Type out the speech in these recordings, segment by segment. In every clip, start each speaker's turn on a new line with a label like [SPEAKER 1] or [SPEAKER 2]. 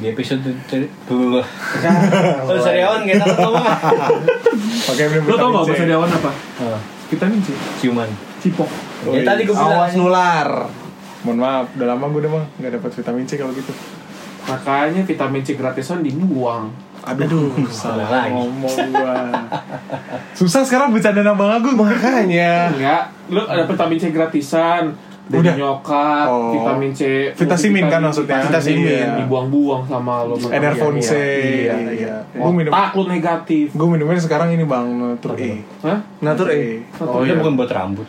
[SPEAKER 1] di episode ter- dulu oh seriawan kita ketemu
[SPEAKER 2] Oke,
[SPEAKER 3] Lo tau gak bahasa Jawa apa?
[SPEAKER 1] Oh,
[SPEAKER 3] Vitamin C.
[SPEAKER 1] ciuman
[SPEAKER 3] Cipok.
[SPEAKER 4] Oh, Iya,
[SPEAKER 1] ya tadi gue bilang
[SPEAKER 5] Awas nular.
[SPEAKER 2] Mohon maaf, udah lama gue udah mah nggak dapat vitamin C kalau gitu.
[SPEAKER 3] Makanya vitamin C gratisan dibuang.
[SPEAKER 2] Aduh,
[SPEAKER 1] salah lagi
[SPEAKER 2] ngomong gua.
[SPEAKER 4] Susah sekarang bercanda nama Agung.
[SPEAKER 2] Makanya
[SPEAKER 3] Enggak. Lo ada vitamin C gratisan. Dari
[SPEAKER 4] Udah.
[SPEAKER 3] nyokap,
[SPEAKER 4] Oh.
[SPEAKER 3] vitamin C.
[SPEAKER 4] Vitamin kan maksudnya?
[SPEAKER 3] Vitamin.
[SPEAKER 2] Vitamin.
[SPEAKER 3] Dibuang-buang sama lo.
[SPEAKER 4] Enervon C.
[SPEAKER 2] Iya, iya.
[SPEAKER 4] Gue minum.
[SPEAKER 3] Otak lo negatif.
[SPEAKER 4] Gue minumnya sekarang ini bang Natur E.
[SPEAKER 3] Hah?
[SPEAKER 5] Natur eh.
[SPEAKER 1] oh
[SPEAKER 3] iya.
[SPEAKER 1] itu bukan buat rambut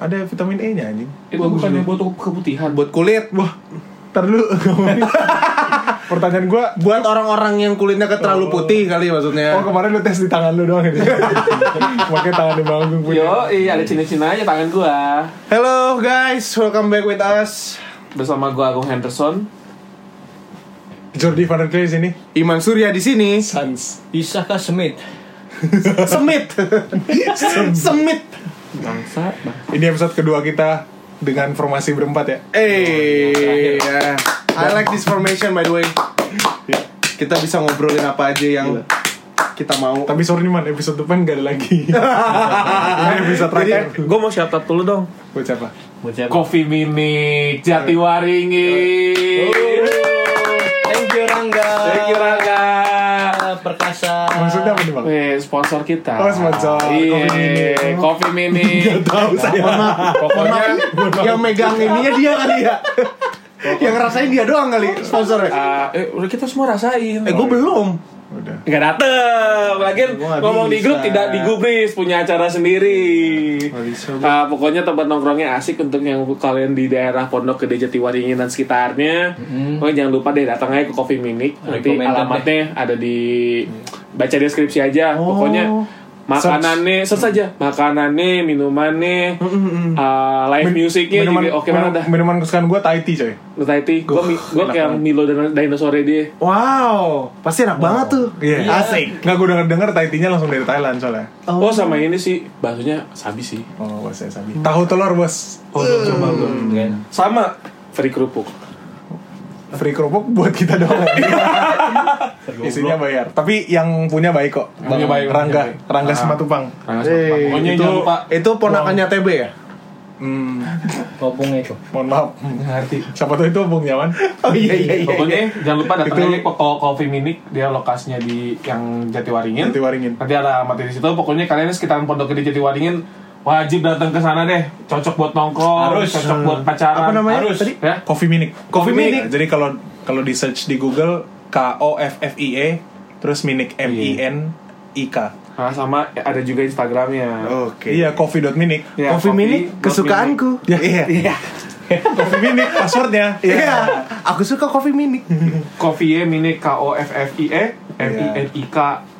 [SPEAKER 4] Ada vitamin E nya anjing.
[SPEAKER 3] Itu bukan yang buat keputihan.
[SPEAKER 5] Buat kulit.
[SPEAKER 4] Wah, ntar dulu. Pertanyaan gue.
[SPEAKER 5] Buat orang-orang yang kulitnya terlalu putih kali
[SPEAKER 1] Ya.
[SPEAKER 5] maksudnya.
[SPEAKER 4] Oh kemarin lu tes di tangan lu doang ini. Makanya tangan di bang Agung punya.
[SPEAKER 3] Yo, iya ada cina-cina aja tangan gua.
[SPEAKER 5] Hello guys, welcome back with us.
[SPEAKER 3] Bersama gua Agung Henderson.
[SPEAKER 4] Jordi Van der Klee sini.
[SPEAKER 5] Iman Surya di sini.
[SPEAKER 4] Sans.
[SPEAKER 1] Isaka Smith
[SPEAKER 5] Semit. Semit.
[SPEAKER 3] Bangsa, bang.
[SPEAKER 4] Ini episode kedua kita dengan formasi berempat ya.
[SPEAKER 5] Eh, ya.
[SPEAKER 4] Nah.
[SPEAKER 5] I like this formation by the way.
[SPEAKER 4] Iya.
[SPEAKER 5] Kita bisa ngobrolin apa aja yang kita mau.
[SPEAKER 4] Tapi sorry nih man, episode depan gak ada lagi.
[SPEAKER 5] Ah,
[SPEAKER 4] Ini episode terakhir.
[SPEAKER 6] Gue mau shout out dulu dong
[SPEAKER 4] Buat siapa?
[SPEAKER 1] buat siapa
[SPEAKER 3] Coffee Minik, Jatiwaringin.
[SPEAKER 1] thank you Rangga
[SPEAKER 3] Thank you Rangga.
[SPEAKER 1] perkasa
[SPEAKER 4] Maksudnya apa nih bang?
[SPEAKER 3] Weh, sponsor kita.
[SPEAKER 4] Oh, sponsor. Coffee
[SPEAKER 3] Iya,
[SPEAKER 4] Minik.
[SPEAKER 3] Coffee Minik.
[SPEAKER 4] Tahu saya.
[SPEAKER 3] Pokoknya
[SPEAKER 5] yang megang ininya dia kali ya. yang ngerasain dia doang kali
[SPEAKER 4] Ah.
[SPEAKER 5] sponsornya.
[SPEAKER 3] uh, eh, udah kita semua rasain.
[SPEAKER 5] Eh, gue belum.
[SPEAKER 4] Udah.
[SPEAKER 3] Nggak dateng Lagian
[SPEAKER 5] Gua nggak
[SPEAKER 3] ngomong di
[SPEAKER 5] bisa.
[SPEAKER 3] grup tidak digubris Punya acara sendiri
[SPEAKER 5] bisa,
[SPEAKER 3] Ah, Pokoknya tempat nongkrongnya asik Untuk yang kalian di daerah Pondok Gede Jatiwaringin dan sekitarnya Pokoknya jangan lupa deh datang aja ke Coffee Minik Nanti
[SPEAKER 1] Recommended
[SPEAKER 3] alamatnya ada di Baca deskripsi aja Pokoknya Makanannya, search aja Makanannya, minumannya ah, Live musicnya
[SPEAKER 4] minuman,
[SPEAKER 3] juga oke
[SPEAKER 4] minum-
[SPEAKER 3] banget dah
[SPEAKER 4] minuman kesukaan gue Thai tea coy
[SPEAKER 3] Lu tai ti, gue kayak Milo dan dinosaur dia
[SPEAKER 5] Wow, pasti enak banget tuh.
[SPEAKER 4] Iya Asik Nggak gue denger denger Thai tea nya langsung dari Thailand soalnya
[SPEAKER 3] Oh sama ini sih, baksonya sabi sih
[SPEAKER 4] Oh bos saya sabi Tahu telur bos
[SPEAKER 3] Oh, belum coba belum.
[SPEAKER 1] Kan?
[SPEAKER 3] Sama free kerupuk.
[SPEAKER 4] Free kerupuk buat kita doang Isinya bayar Tapi yang punya baik kok
[SPEAKER 3] Punya baik,
[SPEAKER 4] Rangga
[SPEAKER 3] punya
[SPEAKER 4] Rangga Simatupang
[SPEAKER 3] Pokoknya
[SPEAKER 5] itu,
[SPEAKER 3] jangan lupa
[SPEAKER 5] itu ponakannya TB ya?
[SPEAKER 4] Hmm
[SPEAKER 1] kopongnya itu
[SPEAKER 4] Mohon maaf
[SPEAKER 3] ngerti.
[SPEAKER 4] Siapa tuh itu Bung Nyaman
[SPEAKER 5] Oh iya iya iya.
[SPEAKER 3] Pokoknya jangan lupa datang
[SPEAKER 4] Itu-
[SPEAKER 3] aja ke Ko- Coffee Minik, dia lokasinya di yang Jatiwaringin.
[SPEAKER 4] Nanti waringin
[SPEAKER 3] Nanti ada materi di situ. Pokoknya kalian sekitaran Pondok Gede Jatiwaringin wajib datang ke sana deh. Cocok buat nongkrong,
[SPEAKER 1] Harus.
[SPEAKER 3] cocok buat pacaran.
[SPEAKER 5] Apa namanya
[SPEAKER 1] Harus.
[SPEAKER 5] tadi?
[SPEAKER 3] Ya.
[SPEAKER 4] Coffee Minik
[SPEAKER 5] Coffee Minik.
[SPEAKER 4] Jadi kalau kalau di search di Google K O F F I E terus Minik M I N I K.
[SPEAKER 3] Nah, sama ada juga Instagramnya.
[SPEAKER 5] Iya. Oke.
[SPEAKER 4] Iya, coffee.minik.
[SPEAKER 3] Ya,
[SPEAKER 5] Coffee Minik
[SPEAKER 3] dot
[SPEAKER 5] kesukaanku.
[SPEAKER 4] Iya. Coffee Minik passwordnya.
[SPEAKER 5] Iya. Aku suka Coffee Minik.
[SPEAKER 3] Minik. Coffee E, Minik K O F F I E M I N I K.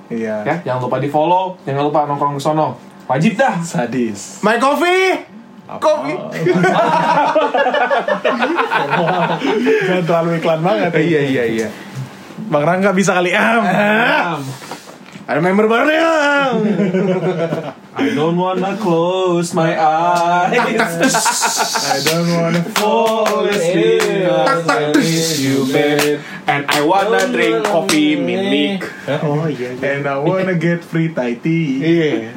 [SPEAKER 4] Iya.
[SPEAKER 3] Ya, jangan lupa di follow, jangan lupa nongkrong ke sono. Wajib dah.
[SPEAKER 4] Sadis.
[SPEAKER 5] My coffee. Coffee.
[SPEAKER 4] Jangan terlalu iklan banget.
[SPEAKER 5] iya iya iya. Ah.
[SPEAKER 4] Bang Rangga bisa kali. Ah. Am.
[SPEAKER 5] Ada member baru nih. Ang.
[SPEAKER 3] I don't wanna close my eyes.
[SPEAKER 4] I don't wanna
[SPEAKER 3] fall asleep with you, babe. And I wanna drink coffee minik.
[SPEAKER 5] Oh iya. iya.
[SPEAKER 4] and I wanna get free Thai tea.
[SPEAKER 5] Iya.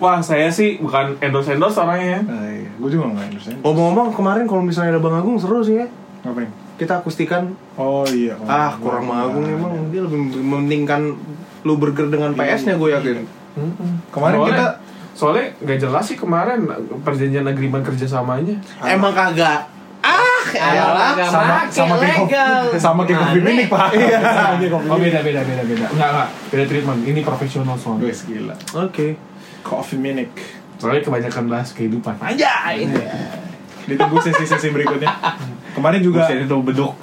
[SPEAKER 3] Wah, saya sih bukan endorse endorse orangnya.
[SPEAKER 4] Ah, iya. Gue juga nggak understand.
[SPEAKER 5] Ngomong-ngomong kemarin kalau misalnya ada Bang Agung seru sih ya.
[SPEAKER 4] Ngapain?
[SPEAKER 5] Kita akustikan.
[SPEAKER 4] Oh iya. Oh,
[SPEAKER 5] Ah, kurang Bang Agung emang dia lebih mementingkan lu burger dengan PS-nya gue yakin.
[SPEAKER 4] Kemarin kita
[SPEAKER 3] Soalnya- soalnya nggak jelas sih kemarin perjanjian agreement kerjasamanya.
[SPEAKER 5] Emang kagak. Ah, elah.
[SPEAKER 4] sama sama kayak Coffee- sama
[SPEAKER 1] Nah,
[SPEAKER 4] kayak Coffee Minik, Pak. Iya.
[SPEAKER 3] Oh beda beda beda beda. Enggak enggak beda treatment. Ini profesional soalnya.
[SPEAKER 4] Guys gila.
[SPEAKER 5] Oke.
[SPEAKER 4] Coffee Minik.
[SPEAKER 3] Soalnya kebanyakan bahas kehidupan. Aja.
[SPEAKER 4] Ditunggu sesi-sesi berikutnya. Kemarin juga
[SPEAKER 3] itu bedok.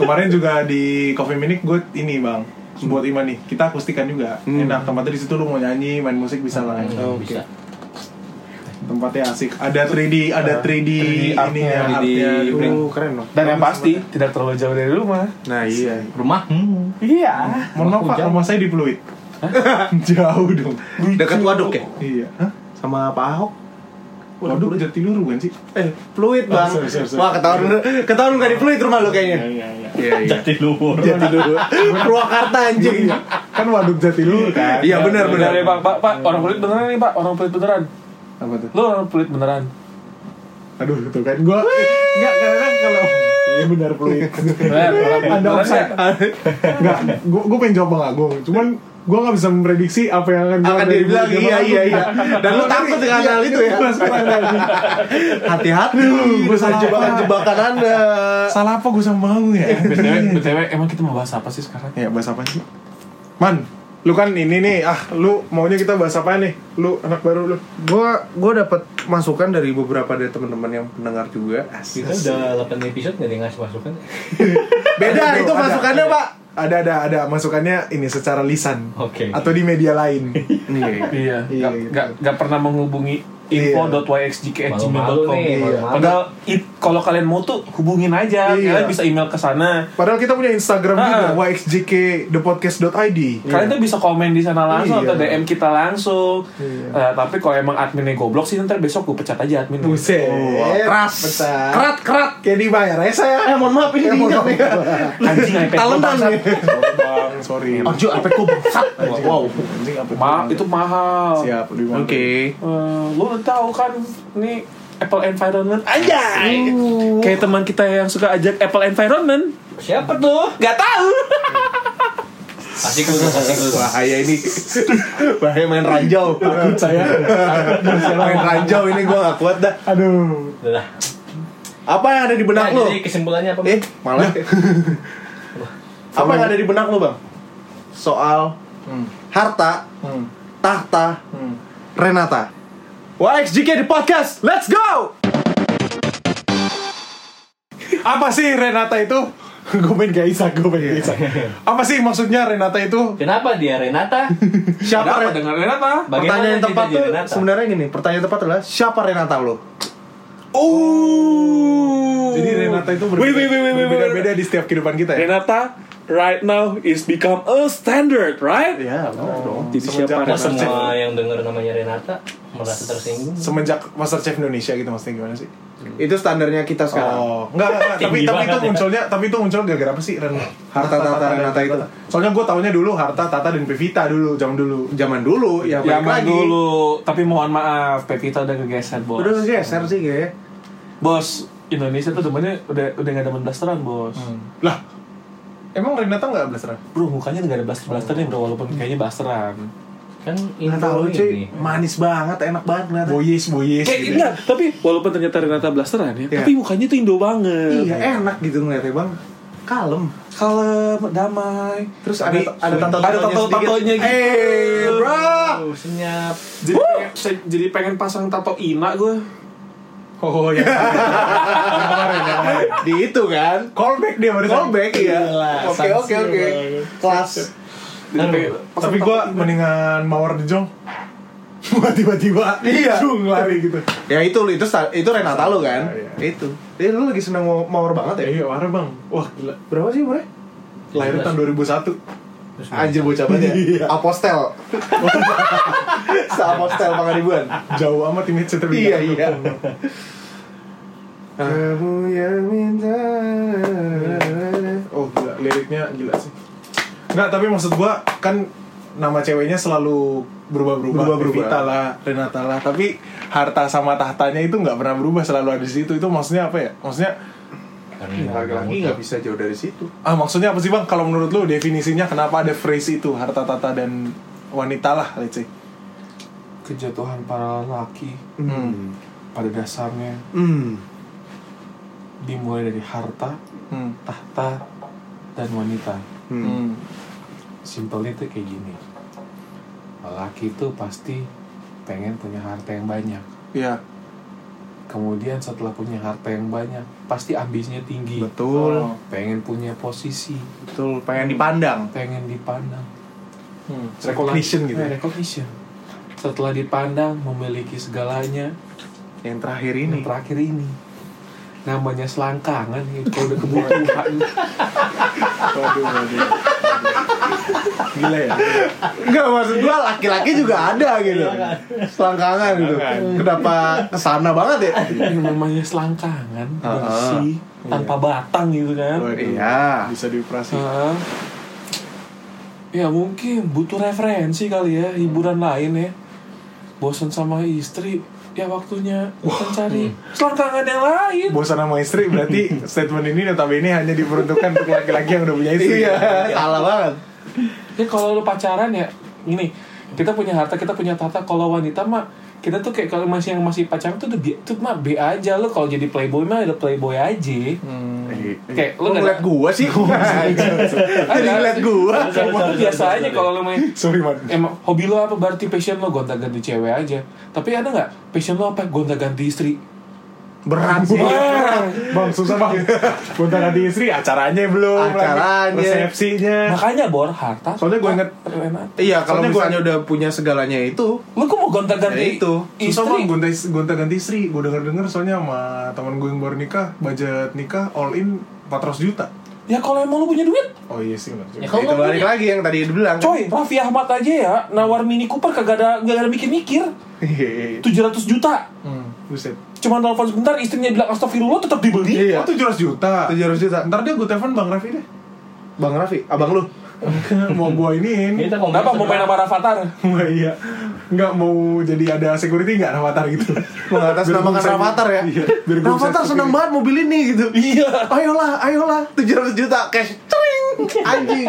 [SPEAKER 4] kemarin juga di Coffee Minik gue ini bang buat Iman nih. Kita akustikan juga. Enak tempatnya di situ lu mau nyanyi, main musik bisa lah. ya.
[SPEAKER 1] bisa
[SPEAKER 4] Tempatnya asik. Ada 3D, ada 3D,
[SPEAKER 2] 3D
[SPEAKER 4] ini ya,
[SPEAKER 1] artnya,
[SPEAKER 4] artnya.
[SPEAKER 1] 3D
[SPEAKER 4] Aduh,
[SPEAKER 1] print.
[SPEAKER 4] keren loh.
[SPEAKER 2] Dan yang pasti tidak terlalu jauh dari rumah.
[SPEAKER 4] Nah iya.
[SPEAKER 1] rumahmu
[SPEAKER 2] Iya.
[SPEAKER 4] Mohon maaf Pak, rumah saya di Pluit. Jauh dong.
[SPEAKER 5] Dekat waduk ya?
[SPEAKER 4] Iya. Hah?
[SPEAKER 5] Sama Pak Ahok.
[SPEAKER 4] Waduh, Jatiluhur bukan sih?
[SPEAKER 5] Eh, fluid
[SPEAKER 4] Oh,
[SPEAKER 5] bang.
[SPEAKER 4] sorry, sorry, sorry.
[SPEAKER 5] Wah, ketahuan ketahuan gak di fluid rumah
[SPEAKER 3] Iya,
[SPEAKER 5] lu kayaknya.
[SPEAKER 3] iya, iya.
[SPEAKER 5] Iya, iya.
[SPEAKER 1] luhur
[SPEAKER 5] Jatiluhur. Purwakarta anjing.
[SPEAKER 4] Iya. Kan waduk Jatiluhur kan.
[SPEAKER 5] Iya, benar benar.
[SPEAKER 3] Bener ya, Pak. Pak, Pak, orang pelit beneran nih, Pak. Orang pelit beneran.
[SPEAKER 4] Apa tuh?
[SPEAKER 3] Lu orang pelit beneran.
[SPEAKER 4] Aduh, tuh kan gua enggak kadang kalau Iya benar Pluit.
[SPEAKER 3] Bener, orang pelit
[SPEAKER 4] Ada
[SPEAKER 3] beneran
[SPEAKER 4] offside.
[SPEAKER 3] ya?
[SPEAKER 4] Enggak, gua gua pengen jawab Bang Agung. Cuman gua nggak bisa memprediksi apa yang akan
[SPEAKER 5] Akan
[SPEAKER 4] dari
[SPEAKER 5] dia bilang
[SPEAKER 4] mulut
[SPEAKER 5] iya
[SPEAKER 4] Bang
[SPEAKER 5] iya
[SPEAKER 4] Agung.
[SPEAKER 5] iya. Dan lu takut dengan hal itu ya.
[SPEAKER 4] Gua salah tadi.
[SPEAKER 5] Hati-hati.
[SPEAKER 4] Gua salah apa?
[SPEAKER 5] jebakan-jebakan Anda.
[SPEAKER 4] Salah apa gua sama Bang Agung ya?
[SPEAKER 3] BTW, BTW, emang kita mau bahas apa sih sekarang?
[SPEAKER 4] Ya
[SPEAKER 5] Iya,
[SPEAKER 4] bahas apa sih? Man, lu kan ini nih, ah lu maunya kita bahas apa nih? Lu anak baru lu.
[SPEAKER 5] Gua gua dapat masukan dari beberapa dari teman-teman yang pendengar juga. Asik.
[SPEAKER 1] kita udah 8 episode nggak ada yang ngasih masukan
[SPEAKER 5] Beda itu
[SPEAKER 4] ada,
[SPEAKER 5] masukannya,
[SPEAKER 4] ada.
[SPEAKER 5] Pak.
[SPEAKER 4] Ada ada ada masukannya ini secara lisan.
[SPEAKER 1] Oke.
[SPEAKER 4] Atau di media lain.
[SPEAKER 3] Iya,
[SPEAKER 4] Iya,
[SPEAKER 3] nggak-
[SPEAKER 4] iya.
[SPEAKER 3] nggak nggak pernah menghubungi
[SPEAKER 4] Iya.
[SPEAKER 1] Malu-malu
[SPEAKER 3] info.yxgk@gmail.com.
[SPEAKER 1] nih,
[SPEAKER 3] Iya.
[SPEAKER 1] malu-malu.
[SPEAKER 3] Padahal it- kalau kalian mau tuh hubungin aja,
[SPEAKER 4] Iya.
[SPEAKER 3] kalian bisa email ke sana.
[SPEAKER 4] Padahal kita punya Instagram
[SPEAKER 3] Ah. Iya.
[SPEAKER 4] juga yxjkthepodcast.id.
[SPEAKER 3] Kalian tuh bisa komen di sana langsung
[SPEAKER 4] Iya.
[SPEAKER 3] atau DM kita langsung.
[SPEAKER 4] Iya.
[SPEAKER 3] Eh, tapi kalau emang adminnya goblok sih ntar besok gue pecat aja adminnya.
[SPEAKER 4] Buset.
[SPEAKER 5] keras.
[SPEAKER 4] Bentar.
[SPEAKER 5] Kerat, kerat.
[SPEAKER 4] Kayak dibayar ya saya.
[SPEAKER 5] Eh, mohon maaf ini
[SPEAKER 4] Eh, mohon
[SPEAKER 5] diingat ya.
[SPEAKER 3] Anjing iPad gua
[SPEAKER 5] Talentan
[SPEAKER 3] bangsat.
[SPEAKER 5] nih.
[SPEAKER 4] Bang, sorry.
[SPEAKER 5] Ojo, apa kok bangsat? Wow.
[SPEAKER 4] Anjing apa?
[SPEAKER 3] Ma itu mahal.
[SPEAKER 4] siap lebih mahal.
[SPEAKER 5] Oke.
[SPEAKER 3] Eh, lu tahu kan nih Apple Environment aja.
[SPEAKER 5] Uh.
[SPEAKER 3] Kayak teman kita yang suka ajak Apple Environment.
[SPEAKER 1] siapa tuh
[SPEAKER 3] Gak tahu.
[SPEAKER 1] asik lu asik lu
[SPEAKER 5] Bahaya ini. Bahaya main ranjau. Takut saya. main ranjau ini gua gak kuat dah.
[SPEAKER 4] Aduh.
[SPEAKER 1] Udah lah.
[SPEAKER 5] Apa yang ada di
[SPEAKER 1] Nah,
[SPEAKER 5] benak lu?
[SPEAKER 1] jadi kesimpulannya apa
[SPEAKER 5] Eh,
[SPEAKER 4] Nah.
[SPEAKER 5] malah. Apa yang ada di benak lu, Bang? Soal
[SPEAKER 4] Hmm.
[SPEAKER 5] harta,
[SPEAKER 4] Hmm.
[SPEAKER 5] tahta,
[SPEAKER 4] Hmm.
[SPEAKER 5] Renata. YXJK di podcast. Let's go.
[SPEAKER 4] Apa sih Renata itu? gue main gak Isa, gue
[SPEAKER 1] Iya.
[SPEAKER 4] main gak Isa. Apa sih maksudnya Renata itu?
[SPEAKER 1] kenapa dia Renata
[SPEAKER 3] Apa
[SPEAKER 5] Siapa Ren-
[SPEAKER 3] dengan Renata?
[SPEAKER 5] Pertanyaan yang
[SPEAKER 1] kita
[SPEAKER 5] tepat
[SPEAKER 1] jadi
[SPEAKER 5] tuh
[SPEAKER 1] Renata?
[SPEAKER 5] sebenarnya gini, pertanyaan tepat adalah siapa Renata lo?
[SPEAKER 3] Oh.
[SPEAKER 4] Jadi Renata itu
[SPEAKER 3] Wait, wait, wait, wait, wait, wait.
[SPEAKER 4] berbeda-beda di setiap kehidupan kita ya?
[SPEAKER 3] Renata right now is become a standard, right?
[SPEAKER 5] Iya, benar dong.
[SPEAKER 3] Jadi
[SPEAKER 4] semenjak
[SPEAKER 3] siapa
[SPEAKER 1] Kok
[SPEAKER 3] Renata?
[SPEAKER 1] semua yang denger namanya Renata merasa tersinggung
[SPEAKER 4] Semenjak Masterchef Indonesia gitu maksudnya gimana sih?
[SPEAKER 5] Hmm. Itu standarnya kita sekarang.
[SPEAKER 4] Oh, enggak, enggak, enggak. tapi
[SPEAKER 1] Tinggi
[SPEAKER 4] tapi itu
[SPEAKER 1] banget ya.
[SPEAKER 4] munculnya, tapi itu muncul gara-gara apa sih? Ren
[SPEAKER 5] Hmm. Harta, tata, Renata itu.
[SPEAKER 4] Soalnya gue taunya dulu Harta, Tata, dan Pevita dulu, zaman dulu.
[SPEAKER 5] Zaman dulu ya balik
[SPEAKER 3] Zaman
[SPEAKER 5] lagi.
[SPEAKER 3] dulu, tapi mohon maaf, Pevita udah kegeser, Bos.
[SPEAKER 5] Udah geser sih kayaknya.
[SPEAKER 3] Bos, Indonesia tuh temennya udah udah gak ada blasteran, Bos.
[SPEAKER 5] Hmm.
[SPEAKER 4] Lah, emang Renata nggak blasteran?
[SPEAKER 3] Bro, mukanya udah gak ada blaster-blaster nih, bro,
[SPEAKER 5] Hmm.
[SPEAKER 3] walaupun kayaknya blasteran.
[SPEAKER 1] kan
[SPEAKER 5] Nggak tahu
[SPEAKER 1] intro
[SPEAKER 5] cuy,
[SPEAKER 1] ini
[SPEAKER 5] manis banget, enak banget kelihatan.
[SPEAKER 4] Boyes, boyes.
[SPEAKER 3] Kayak
[SPEAKER 4] gitu.
[SPEAKER 3] enggak, tapi walaupun ternyata Renata blasteran ya,
[SPEAKER 5] Iya.
[SPEAKER 3] tapi mukanya tuh Indo banget.
[SPEAKER 5] Iya, enak gitu ngeliatnya, Bang. Kalem.
[SPEAKER 3] Kalem, damai.
[SPEAKER 5] Terus ada
[SPEAKER 4] Tapi-
[SPEAKER 5] ada tato
[SPEAKER 3] Ada tato-tatonya gitu.
[SPEAKER 5] Eh, bro.
[SPEAKER 1] oh senyap
[SPEAKER 3] Jadi, pengen- saya- jadi pengen pasang tato Ina gue.
[SPEAKER 4] Oh, iya. Yang kemarin, yang kemarin.
[SPEAKER 5] Di itu kan.
[SPEAKER 4] Callback dia barusan.
[SPEAKER 5] Callback ya.
[SPEAKER 1] Gila,
[SPEAKER 5] Oke, oke, oke. Kelas.
[SPEAKER 3] Jadi pengen pasang
[SPEAKER 4] Tapi
[SPEAKER 3] tato
[SPEAKER 4] gue
[SPEAKER 3] Ina.
[SPEAKER 4] mendingan mawar di jong. Gua tiba-tiba
[SPEAKER 5] Iya.
[SPEAKER 4] jung lari gitu.
[SPEAKER 5] Ya itu lu, itu sta- itu Renata lu kan?
[SPEAKER 4] Iya.
[SPEAKER 5] Itu. Eh, lu lagi seneng mau- mawar banget ya?
[SPEAKER 4] Iya, warna bang. Wah, gila.
[SPEAKER 5] Berapa sih umurnya?
[SPEAKER 4] Lahir tahun 2001.
[SPEAKER 5] Anjir bocah banget
[SPEAKER 4] Iya.
[SPEAKER 5] ya. Apostel. Sa-apostel Pangaribuan.
[SPEAKER 4] Jauh amat image cerita
[SPEAKER 5] Iya, iya. Ah. Kamu yang minta.
[SPEAKER 4] Oh gila, liriknya gila sih Enggak, tapi maksud gua kan nama ceweknya selalu berubah-berubah
[SPEAKER 5] Berubah-berubah.
[SPEAKER 4] Pevita lah, Renata lah Tapi harta sama tahtanya itu nggak pernah berubah selalu ada di situ Itu maksudnya apa ya? Maksudnya
[SPEAKER 5] Lagi-lagi
[SPEAKER 3] gitu.
[SPEAKER 5] nggak bisa jauh dari situ.
[SPEAKER 4] ah maksudnya apa sih bang? Kalau menurut lu definisinya kenapa ada phrase itu harta tata dan wanita lah let's say
[SPEAKER 3] kejatuhan para laki
[SPEAKER 4] Hmm.
[SPEAKER 3] pada dasarnya
[SPEAKER 5] Hmm.
[SPEAKER 3] dimulai dari harta,
[SPEAKER 4] Hmm.
[SPEAKER 3] tahta, dan wanita.
[SPEAKER 5] Hmm.
[SPEAKER 4] Hmm.
[SPEAKER 3] Simpelnya itu kayak gini. Laki itu pasti pengen punya harta yang banyak.
[SPEAKER 4] Iya.
[SPEAKER 3] Kemudian setelah punya harta yang banyak, pasti ambisinya tinggi.
[SPEAKER 4] Betul.
[SPEAKER 3] Pengen punya posisi,
[SPEAKER 4] Betul, pengen dipandang.
[SPEAKER 3] pengen dipandang.
[SPEAKER 4] Recognition gitu.
[SPEAKER 3] Eh, recognition. Setelah dipandang, memiliki segalanya.
[SPEAKER 4] Yang terakhir ini.
[SPEAKER 5] Hmm.
[SPEAKER 3] Yang terakhir ini, namanya selangkangan gitu. Kalau udah kebutuhan,
[SPEAKER 4] Waduh, waduh. Gila ya.
[SPEAKER 5] Enggak maksud gua laki-laki juga ada gitu. Selangkangan
[SPEAKER 4] Iya,
[SPEAKER 5] gitu.
[SPEAKER 4] kan.
[SPEAKER 5] Kenapa kesana banget ya?
[SPEAKER 3] yang namanya selangkangan,
[SPEAKER 5] Ah, ah.
[SPEAKER 3] bersih, tanpa batang gitu kan.
[SPEAKER 4] Waduh.
[SPEAKER 5] Iya.
[SPEAKER 4] Bisa dioperasi.
[SPEAKER 3] Heeh. Ya mungkin butuh referensi kali ya hiburan lain ya. Bosan sama istri, ya waktunya
[SPEAKER 5] hmm.
[SPEAKER 3] mencari selangkangan yang lain.
[SPEAKER 4] Bosan sama istri berarti statement ini notabene hanya diperuntukkan untuk laki-laki yang udah punya istri.
[SPEAKER 5] Iya, salah banget.
[SPEAKER 3] Ya kalau lu pacaran ya ini kita punya harta, kita punya tata. Kalau wanita mah kita tuh kayak kalau masih yang masih pacaran tuh udah bi- tuh mah B aja lo kalau jadi playboy mah ada playboy aja. Kayak Eh, lu
[SPEAKER 5] Iya, Lu
[SPEAKER 3] nggak
[SPEAKER 5] ngeliat gua sih. Jadi ngeliat gua.
[SPEAKER 3] Kamu biasa aja kalau lu main
[SPEAKER 4] Sorry, man.
[SPEAKER 3] Emang hobi lo apa? Berarti passion lo gonta-ganti cewek aja. Tapi ada nggak passion lo apa? Gonta-ganti istri.
[SPEAKER 4] Berat sih.
[SPEAKER 5] Iya.
[SPEAKER 4] Bang, susah bang. Gonta ganti istri, acaranya belum. lagi.
[SPEAKER 5] Acaranya.
[SPEAKER 4] Resepsinya.
[SPEAKER 3] Makanya bor harta.
[SPEAKER 4] Soalnya gue inget-
[SPEAKER 3] Renat.
[SPEAKER 5] Iya, kalau
[SPEAKER 4] Soalnya gua-
[SPEAKER 5] misalnya udah punya segalanya itu,
[SPEAKER 3] Lo kok mau
[SPEAKER 5] Ya
[SPEAKER 3] gonta-ganti
[SPEAKER 5] itu.
[SPEAKER 4] Susah bang
[SPEAKER 3] istri?
[SPEAKER 4] gonta, gonta ganti istri Gue denger denger soalnya sama teman gue yang baru nikah Budget nikah all in 400 juta
[SPEAKER 3] Ya kalau emang lo punya duit,
[SPEAKER 4] Oh iya sih benar juga.
[SPEAKER 1] Ya,
[SPEAKER 5] ya,
[SPEAKER 1] kalau
[SPEAKER 5] itu
[SPEAKER 1] nggak
[SPEAKER 5] balik lagi yang tadi dibilang.
[SPEAKER 3] coy, Raffi Ahmad aja ya nawar Mini Cooper kagak ada gak ada mikir-mikir.
[SPEAKER 4] Hehehe.
[SPEAKER 3] 700 juta.
[SPEAKER 4] Hmm, Iya, buset
[SPEAKER 3] Cuma telepon sebentar istrinya bilang astagfirullah tetap dibeli.
[SPEAKER 5] Iya.
[SPEAKER 4] Oh 700 juta
[SPEAKER 5] 700 juta.
[SPEAKER 4] Ntar dia gue telepon Bang Raffi deh
[SPEAKER 5] Bang Raffi, abang lu.
[SPEAKER 4] Mau gue iniin
[SPEAKER 1] Kita ngomongin
[SPEAKER 3] Kenapa mau main
[SPEAKER 1] sebelah.
[SPEAKER 3] sama Rafathar?
[SPEAKER 4] Wah iya Nggak mau jadi ada security nggak Ravatar gitu
[SPEAKER 5] Mengatasnamakan
[SPEAKER 4] Biar gua bisa-
[SPEAKER 5] Ravatar ya.
[SPEAKER 4] Iya, biar gua bisa
[SPEAKER 5] Ravatar seneng
[SPEAKER 4] security.
[SPEAKER 5] banget mobil ini gitu. Iya. Ayolah, ayolah. 700 juta cash. Cering. Anjing.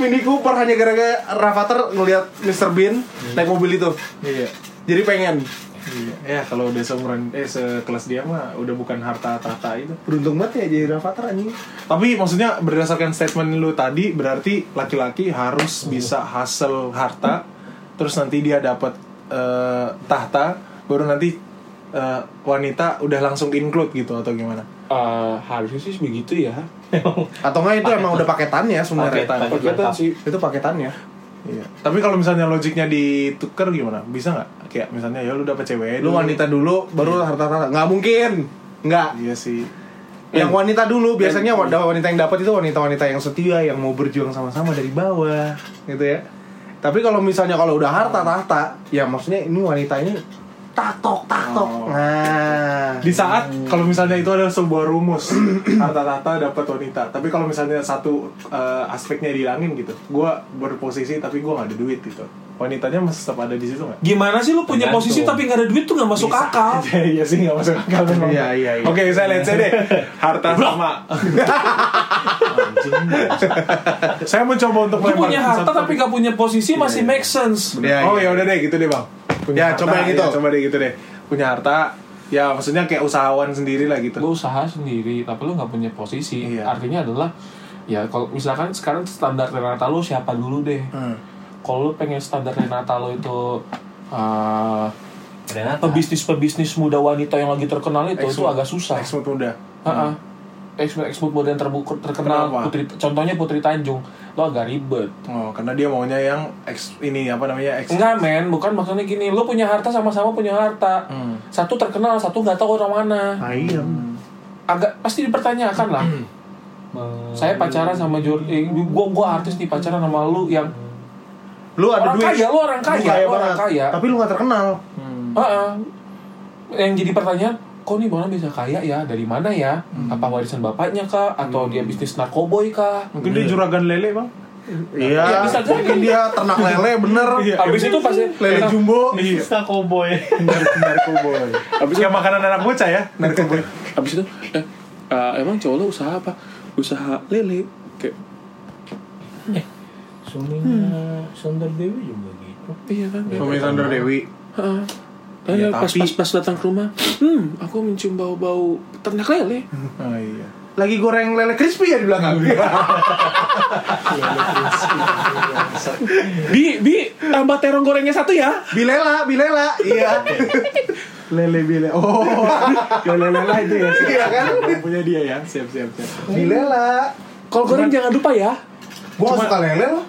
[SPEAKER 5] Mini Cooper hanya gara-gara Ravatar ngelihat Mr. Bean naik mobil itu.
[SPEAKER 4] Iya
[SPEAKER 5] Jadi pengen.
[SPEAKER 4] Iya, ya kalau udah seumuran eh sekelas dia mah udah bukan harta tahta itu.
[SPEAKER 5] Beruntung banget ya jadi Ravatar anjing.
[SPEAKER 4] Tapi maksudnya berdasarkan statement lu tadi berarti laki-laki harus bisa hasil harta terus nanti dia dapat eh, tahta baru nanti eh, wanita udah langsung include gitu atau gimana?
[SPEAKER 3] Eh, harusnya sih begitu ya.
[SPEAKER 5] Atau enggak itu emang udah paketannya sebenarnya.
[SPEAKER 4] Paketan.
[SPEAKER 3] Perkataan sih
[SPEAKER 5] Itu paketannya.
[SPEAKER 4] Iya. Tapi kalau misalnya logiknya ditukar gimana? Bisa nggak? Kayak misalnya ya lu dapet cewek
[SPEAKER 5] Lu
[SPEAKER 4] dulu.
[SPEAKER 5] wanita dulu baru harta tahta. Nggak mungkin. Nggak.
[SPEAKER 4] Iya sih. Eh, iya.
[SPEAKER 5] Yang wanita dulu biasanya wanita wanita yang dapat itu wanita-wanita yang setia yang mau berjuang sama-sama dari bawah gitu ya. Tapi kalau misalnya kalau udah harta tahta, ya maksudnya ini wanita ini taktok taktok.
[SPEAKER 4] Oh.
[SPEAKER 5] Nah,
[SPEAKER 4] Di saat kalau misalnya itu adalah sebuah rumus harta tahta dapat wanita, tapi kalau misalnya satu eh, aspeknya dihilangin gitu, gue berposisi tapi gue nggak ada duit gitu. Wanitanya masih tetap ada di situ nggak?
[SPEAKER 3] Gimana sih lu punya
[SPEAKER 1] Tergantung.
[SPEAKER 3] posisi tapi nggak ada duit tuh nggak masuk akal?
[SPEAKER 4] Iya, iya sih nggak masuk akal memang.
[SPEAKER 5] Iya, iya, iya.
[SPEAKER 4] Oke saya lihat deh harta sama. saya mencoba untuk
[SPEAKER 3] Lu punya
[SPEAKER 4] melempar
[SPEAKER 3] harta
[SPEAKER 4] satu
[SPEAKER 3] tapi nggak punya posisi masih make sense.
[SPEAKER 5] Iya,
[SPEAKER 4] oh ya
[SPEAKER 5] iya.
[SPEAKER 4] udah deh gitu deh bang.
[SPEAKER 5] Ya, coba yang itu.
[SPEAKER 4] ya, coba deh gitu deh. Punya harta, ya maksudnya kayak usahawan sendiri lah gitu.
[SPEAKER 3] Lu usaha sendiri tapi lu nggak punya posisi.
[SPEAKER 4] Iya.
[SPEAKER 3] Artinya adalah ya kalau misalkan sekarang standar Renata lu siapa dulu deh. Kalau lu pengen standar Renata lu itu eh,
[SPEAKER 1] Renata.
[SPEAKER 3] pebisnis-pebisnis muda wanita yang lagi terkenal itu itu
[SPEAKER 4] Ex-mo-
[SPEAKER 3] agak susah.
[SPEAKER 4] Ex muda.
[SPEAKER 3] Heeh. Expert expert modern terbuka terkenal
[SPEAKER 4] Kenapa?
[SPEAKER 3] Putri contohnya Putri Tanjung lo agak ribet
[SPEAKER 4] Oh, karena dia maunya yang ex ini apa namanya ex.
[SPEAKER 3] Enggak men, bukan maksudnya gini. Lo punya harta sama-sama punya harta.
[SPEAKER 5] Hmm.
[SPEAKER 3] Satu terkenal, satu nggak tahu orang mana. Agak pasti dipertanyakan lah.
[SPEAKER 5] Hmm.
[SPEAKER 3] Saya pacaran sama Jordi, eh, gua gua artis nih pacaran sama lu yang
[SPEAKER 5] lu ada
[SPEAKER 3] Orang
[SPEAKER 5] duit.
[SPEAKER 3] kaya, lu orang kaya, lu orang
[SPEAKER 5] banget.
[SPEAKER 3] kaya.
[SPEAKER 5] Tapi lu gak terkenal.
[SPEAKER 3] Heeh. yang jadi pertanyaan, kok nih orang bisa kaya ya? Dari mana ya? Apa warisan bapaknya kah? Atau dia bisnis narkoboy kah?
[SPEAKER 4] Mungkin dia juragan lele bang.
[SPEAKER 5] Iya.
[SPEAKER 3] Ya, bisa jadi.
[SPEAKER 5] Mungkin dia ternak lele bener.
[SPEAKER 4] Iya.
[SPEAKER 3] Habis itu pasti
[SPEAKER 5] Lele
[SPEAKER 3] Nah,
[SPEAKER 5] jumbo.
[SPEAKER 1] Bisa cowboy.
[SPEAKER 5] Oh,
[SPEAKER 4] Narkoboy. Abis kayak makanan anak bocah ya. Narkoboy.
[SPEAKER 3] Abis itu, eh, eh, emang cowok lo usaha apa? Usaha lele. Kayak,
[SPEAKER 1] Suaminya Sundar Dewi juga gitu.
[SPEAKER 3] iya kan?
[SPEAKER 5] Suami Sandra Dewi.
[SPEAKER 3] Heeh. Lalu pas, pas pas datang ke rumah, hmm, aku mencium bau-bau ternak lele.
[SPEAKER 4] Oh iya.
[SPEAKER 5] Lagi goreng lele crispy ya di belakang.
[SPEAKER 3] Bi, bi, tambah terong gorengnya satu ya.
[SPEAKER 5] bilela, bilela. Iya.
[SPEAKER 4] Lele bile. Oh. Lele lela itu ya. Iya kan? Punya dia ya. Siap siap siap.
[SPEAKER 5] Dilela.
[SPEAKER 3] Kalau goreng jangan lupa ya.
[SPEAKER 5] Gua nggak suka lele loh.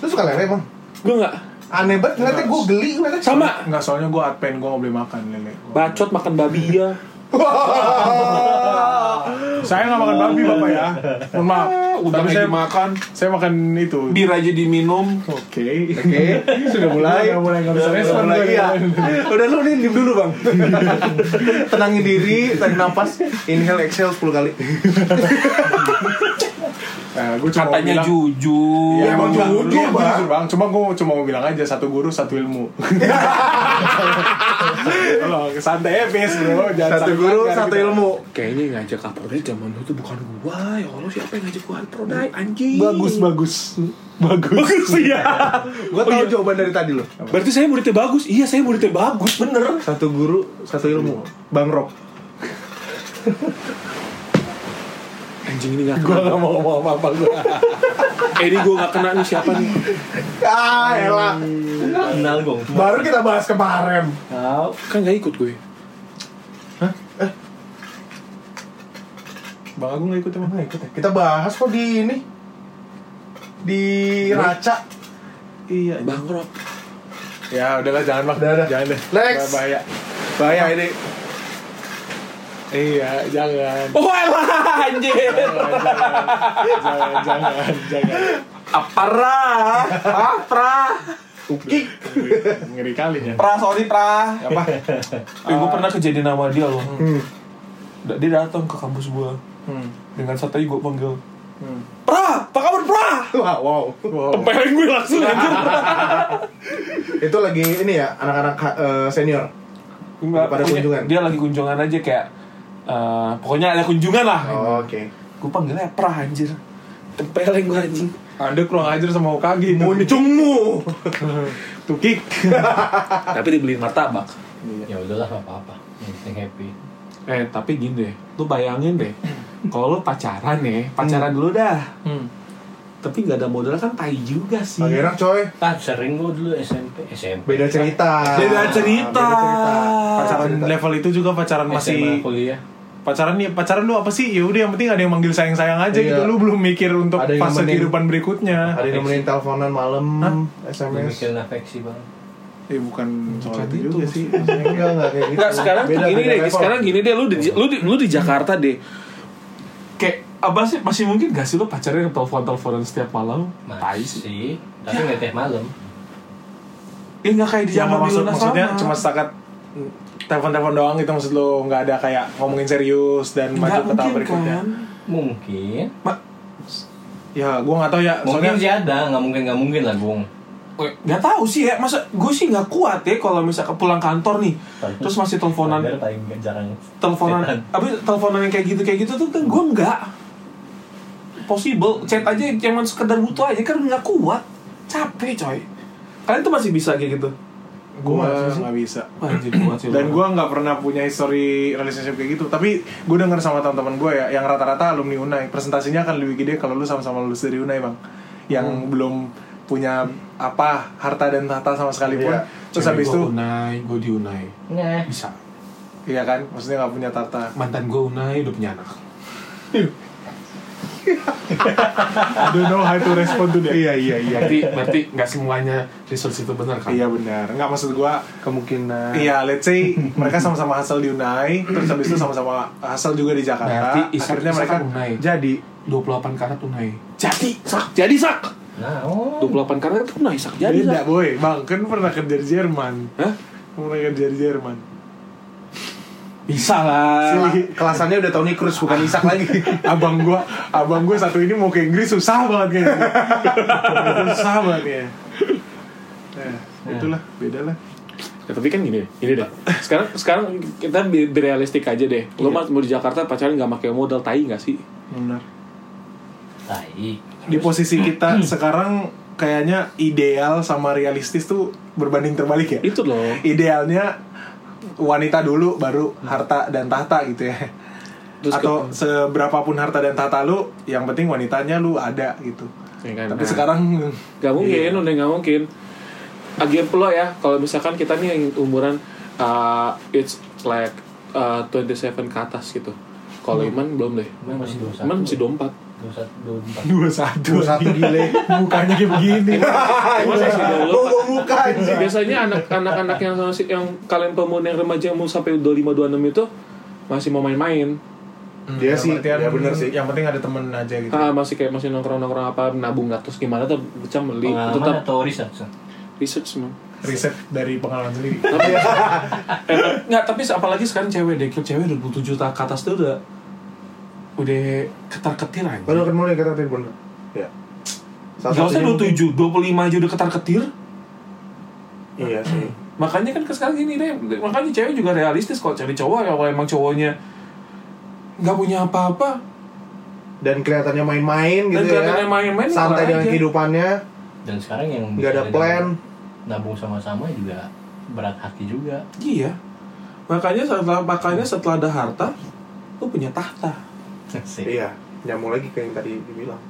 [SPEAKER 5] Lu suka lele emang?
[SPEAKER 3] Gue nggak.
[SPEAKER 5] Aneh banget ngeliatnya gue geli ngeliatnya.
[SPEAKER 3] Sama.
[SPEAKER 4] Enggak soalnya gue adpen gue nggak boleh makan lele.
[SPEAKER 3] Bacot makan babi ya.
[SPEAKER 4] Saya nggak makan babi bapak ya. Mohon maaf.
[SPEAKER 3] Udah
[SPEAKER 4] Tapi saya
[SPEAKER 3] lagi makan.
[SPEAKER 4] saya makan itu.
[SPEAKER 3] Bir aja diminum.
[SPEAKER 4] Oke.
[SPEAKER 5] Oke, sudah mulai.
[SPEAKER 4] Udah mulai nggak bisa respon gitu.
[SPEAKER 5] Udah,
[SPEAKER 4] lagi
[SPEAKER 5] iya. Udah lu nih diem dulu bang Tenangin diri, tarik nafas Inhale, exhale 10 kali
[SPEAKER 4] gue Nah, cuma mau
[SPEAKER 3] Katanya
[SPEAKER 4] bilang-
[SPEAKER 3] jujur.
[SPEAKER 4] Ya, emang
[SPEAKER 5] Emang
[SPEAKER 4] jujur,
[SPEAKER 5] jujur,
[SPEAKER 4] iya,
[SPEAKER 5] Bang.
[SPEAKER 4] jujur, bang. Cuma gue cuma mau bilang aja satu guru satu ilmu. Tolong santai epis bro. Jangan santai,
[SPEAKER 5] Satu guru,
[SPEAKER 4] biar
[SPEAKER 5] satu
[SPEAKER 4] kita-
[SPEAKER 5] ilmu
[SPEAKER 3] Kayaknya yang ngajak Kapolda zaman itu bukan gua. Ya Allah siapa yang ngajak gua Prodai anjing.
[SPEAKER 4] Bagus bagus bagus. iya.
[SPEAKER 3] Bagus ya.
[SPEAKER 5] Gue
[SPEAKER 4] Oh,
[SPEAKER 5] tau jawaban dari tadi loh
[SPEAKER 3] Berarti saya muridnya bagus. Iya, saya muridnya bagus, bener.
[SPEAKER 5] Satu guru, satu ilmu Bang Rob
[SPEAKER 3] Anjing ini gak Gua gak mau ngomong apa-apa gua. eh, ini gua gak kena nih siapa nih?
[SPEAKER 5] Ah elah
[SPEAKER 1] Kenal gong.
[SPEAKER 5] Baru kita bahas kemarin
[SPEAKER 1] Tahu.
[SPEAKER 3] Kan gak ikut gue.
[SPEAKER 4] Bang Agung nggak ikut emang nggak ikut ya?
[SPEAKER 5] Kita bahas kok di ini Di Raca
[SPEAKER 4] Iya.
[SPEAKER 3] Bang Rob.
[SPEAKER 4] Ya udahlah jangan bang.
[SPEAKER 5] Udah, udah.
[SPEAKER 4] Jangan deh.
[SPEAKER 5] Next.
[SPEAKER 4] Bahaya.
[SPEAKER 5] Bahaya ini
[SPEAKER 4] Iya jangan.
[SPEAKER 3] Oh, elah anjing.
[SPEAKER 4] Jangan jangan jangan.
[SPEAKER 3] Apa ra? Ah, pra.
[SPEAKER 5] Uki
[SPEAKER 4] Ngeri kali ya.
[SPEAKER 3] Pra, sorry pra.
[SPEAKER 4] Apa?
[SPEAKER 3] Eh, gua pernah kejadian sama dia loh. Da- Dia datang ke kampus gua
[SPEAKER 4] Hmm.
[SPEAKER 3] dengan santai gua panggil.
[SPEAKER 4] Hmm.
[SPEAKER 3] Pra, apa kabar pra?
[SPEAKER 5] Wah wow
[SPEAKER 4] Wow.
[SPEAKER 3] Tempelin gue langsung anjir.
[SPEAKER 5] Itu lagi ini ya Anak-anak eh, senior
[SPEAKER 3] Enggak,
[SPEAKER 5] Pada
[SPEAKER 3] pokoknya
[SPEAKER 5] kunjungan.
[SPEAKER 3] Dia lagi kunjungan aja kayak eh, pokoknya ada kunjungan lah.
[SPEAKER 5] Oh, Oke
[SPEAKER 3] Gue panggilnya pra anjir. Tempelin gue anjing.
[SPEAKER 4] Anda kurang ajar sama Hokage itu.
[SPEAKER 5] Muncungmu
[SPEAKER 4] Tukik.
[SPEAKER 3] tapi dibeliin martabak.
[SPEAKER 1] Ya udahlah nggak apa-apa. Yang penting happy.
[SPEAKER 3] Eh, tapi gini deh. Lu bayangin deh. Kalau lu pacaran ya, pacaran dulu dah.
[SPEAKER 4] Hmm.
[SPEAKER 3] Tapi nggak ada modal kan tai juga sih.
[SPEAKER 5] Gak enak coy
[SPEAKER 1] Kan sering gua dulu SMP, SMP.
[SPEAKER 5] Beda cerita
[SPEAKER 3] Beda cerita.
[SPEAKER 5] Beda cerita.
[SPEAKER 4] Pacaran level itu juga
[SPEAKER 5] Eh,
[SPEAKER 4] pacaran
[SPEAKER 1] SMA
[SPEAKER 4] masih
[SPEAKER 1] kuliah.
[SPEAKER 4] pacaran nih pacaran lu apa sih ya udah yang penting ada yang manggil sayang sayang aja
[SPEAKER 5] Iya.
[SPEAKER 4] gitu lu belum mikir untuk
[SPEAKER 5] Ada yang
[SPEAKER 4] fase
[SPEAKER 5] nemenin.
[SPEAKER 4] kehidupan berikutnya
[SPEAKER 5] Ada yang nemenin teleponan malam,
[SPEAKER 4] Hah?
[SPEAKER 5] SMS.
[SPEAKER 1] Mikirin afeksi banget.
[SPEAKER 4] eh bukan soal
[SPEAKER 3] Bukan
[SPEAKER 4] itu
[SPEAKER 3] itu
[SPEAKER 4] juga sih
[SPEAKER 5] Enggak, enggak kayak gitu.
[SPEAKER 3] Nggak, sekarang tuh
[SPEAKER 5] Beda,
[SPEAKER 3] gini
[SPEAKER 5] beda
[SPEAKER 3] deh,
[SPEAKER 5] level.
[SPEAKER 3] sekarang gini deh, lu di, lu di, lu di Jakarta deh. Kayak apa sih masih mungkin gak sih lu pacarnya telepon-teleponan setiap malam? Tai sih.
[SPEAKER 1] Masih, tapi nggak tiap malam.
[SPEAKER 3] Eh nggak kayak di
[SPEAKER 4] ya
[SPEAKER 3] zaman
[SPEAKER 4] nggak maksud
[SPEAKER 3] Luna
[SPEAKER 4] maksudnya
[SPEAKER 3] sama.
[SPEAKER 4] cuma setakat telepon telepon doang gitu maksud lu nggak ada kayak ngomongin serius dan
[SPEAKER 3] nggak
[SPEAKER 4] maju ke tahap
[SPEAKER 3] mungkin
[SPEAKER 4] berikutnya
[SPEAKER 3] kan.
[SPEAKER 1] Mungkin.
[SPEAKER 3] Ma-
[SPEAKER 4] ya gua nggak tahu ya
[SPEAKER 1] Mungkin
[SPEAKER 4] soalnya
[SPEAKER 1] sih ada, nggak mungkin nggak mungkin lah Bung.
[SPEAKER 3] nggak tahu sih ya masa gue sih nggak kuat ya kalau misalnya pulang kantor nih terus masih teleponan
[SPEAKER 1] Standar paling nggak jarang.
[SPEAKER 3] teleponan
[SPEAKER 1] Setan.
[SPEAKER 3] abis teleponan yang kayak gitu kayak gitu tuh kan gue nggak possible chat aja cuman sekedar butuh aja kan nggak kuat capek coy kalian tuh masih bisa kayak gitu
[SPEAKER 4] gua
[SPEAKER 5] Gua sih.
[SPEAKER 4] nggak bisa
[SPEAKER 3] Wah, anjir, kuat sih lu.
[SPEAKER 4] dan gua nggak pernah punya history relationship kayak gitu tapi gua denger sama teman-teman gua ya yang rata-rata alumni Unai presentasinya akan lebih gede kalau lu sama-sama lulus dari Unai bang yang belum punya apa harta dan tahta sama sekali pun
[SPEAKER 5] Iya.
[SPEAKER 4] terus habis itu
[SPEAKER 3] Cewek gua unai gue di unai
[SPEAKER 1] Nah,
[SPEAKER 3] bisa
[SPEAKER 4] iya kan maksudnya nggak punya tahta
[SPEAKER 3] mantan gue unai udah punya anak
[SPEAKER 4] I don't know how to respond to that
[SPEAKER 5] Iya, iya, iya.
[SPEAKER 3] berarti berarti nggak semuanya resource itu benar kan
[SPEAKER 4] iya benar nggak maksud gua
[SPEAKER 5] Kemungkinan.
[SPEAKER 4] Iya, let's say mereka sama-sama hasil di Unai, terus habis itu sama-sama hasil juga di
[SPEAKER 3] Berarti
[SPEAKER 4] Jakarta.
[SPEAKER 3] Isak-
[SPEAKER 4] akhirnya
[SPEAKER 3] Isak
[SPEAKER 4] mereka
[SPEAKER 3] kan Unai.
[SPEAKER 4] jadi
[SPEAKER 3] 28 karat tunai. Jadi, sak. Jadi, sak.
[SPEAKER 1] nah, oh.
[SPEAKER 3] 28 karat tunai, sak. Jadi,
[SPEAKER 4] beda,
[SPEAKER 3] sak.
[SPEAKER 4] boy. Bang, kan pernah kerja di Jerman.
[SPEAKER 3] Hah?
[SPEAKER 4] Pernah kerja di Jerman.
[SPEAKER 3] Bisa lah.
[SPEAKER 5] Kela- Kelasannya udah Tony Cruz bukan Isak lagi.
[SPEAKER 4] abang gua, abang gua satu ini mau ke Inggris susah banget kayaknya. susah banget ya. Nah, itulah, beda lah.
[SPEAKER 3] Ya, tapi kan gini, ini deh. Sekarang sekarang kita bi- realistik aja deh. Lo
[SPEAKER 4] Iya.
[SPEAKER 3] mas mau di Jakarta pacaran nggak pakai modal tai nggak sih?
[SPEAKER 4] Benar.
[SPEAKER 1] Tai.
[SPEAKER 4] Di posisi kita sekarang kayaknya ideal sama realistis tuh berbanding terbalik ya.
[SPEAKER 3] Itu loh.
[SPEAKER 4] idealnya wanita dulu baru harta dan tahta gitu ya
[SPEAKER 3] Terus
[SPEAKER 4] atau
[SPEAKER 3] ke-
[SPEAKER 4] seberapapun harta dan tahta lu yang penting wanitanya lu ada gitu
[SPEAKER 3] Ya kan?
[SPEAKER 4] tapi
[SPEAKER 3] Nah,
[SPEAKER 4] sekarang Iya.
[SPEAKER 3] nggak mungkin, udah nggak mungkin. Agen pula ya, kalau misalkan kita nih yang umuran uh, it's like uh, 27 ke atas gitu. Kalau
[SPEAKER 4] Hmm.
[SPEAKER 3] Iman belum deh.
[SPEAKER 1] Iman masih 21.
[SPEAKER 3] Iman masih 24.
[SPEAKER 1] 21, 24.
[SPEAKER 4] dua satu
[SPEAKER 5] satu gile
[SPEAKER 4] mukanya kayak begini Ah,
[SPEAKER 3] Iman
[SPEAKER 4] iya.
[SPEAKER 3] masih 24.
[SPEAKER 5] muka anjing.
[SPEAKER 3] Biasanya anak- anak-anak yang sama si- yang kalian pemuda yang remaja yang mau sampai 25 26 itu masih mau main-main.
[SPEAKER 2] Dia sih,
[SPEAKER 4] Artian,
[SPEAKER 2] ya bener sih.
[SPEAKER 4] yang penting ada temen aja gitu
[SPEAKER 3] Ah, masih kayak masih nongkrong-nongkrong apa nabung ratus gimana tuh pecah beli
[SPEAKER 1] Pengalaman
[SPEAKER 3] tetap
[SPEAKER 1] atau riset? Son?
[SPEAKER 3] research man.
[SPEAKER 4] riset dari pengalaman sendiri
[SPEAKER 3] Tapi eh, nggak tapi apalagi sekarang cewek deh, cewek 27 ta- ke atas tuh udah udah ketar-ketir aja.
[SPEAKER 2] Baru akan mulai kata tadi bener. Ya.
[SPEAKER 3] Gak usah 27, 25 aja udah ketar-ketir.
[SPEAKER 2] Iya sih.
[SPEAKER 3] Makanya kan sekarang gini deh, makanya cewek juga realistis kalau cari cowok kalau emang cowoknya nggak punya apa-apa
[SPEAKER 2] Dan kelihatannya main-main
[SPEAKER 3] dan
[SPEAKER 2] gitu
[SPEAKER 3] kelihatannya
[SPEAKER 2] ya.
[SPEAKER 3] main-main
[SPEAKER 2] Santai
[SPEAKER 3] kelar
[SPEAKER 2] dengan
[SPEAKER 3] aja.
[SPEAKER 2] kehidupannya,
[SPEAKER 1] Dan sekarang yang
[SPEAKER 2] nggak ada
[SPEAKER 1] bisa
[SPEAKER 2] plan.
[SPEAKER 1] Nabung sama-sama juga berat hati juga.
[SPEAKER 3] Iya. Makanya setelah makanya setelah ada harta, lu punya tahta.
[SPEAKER 1] Sih.
[SPEAKER 2] Iya. Nyambung lagi ke yang tadi dibilang.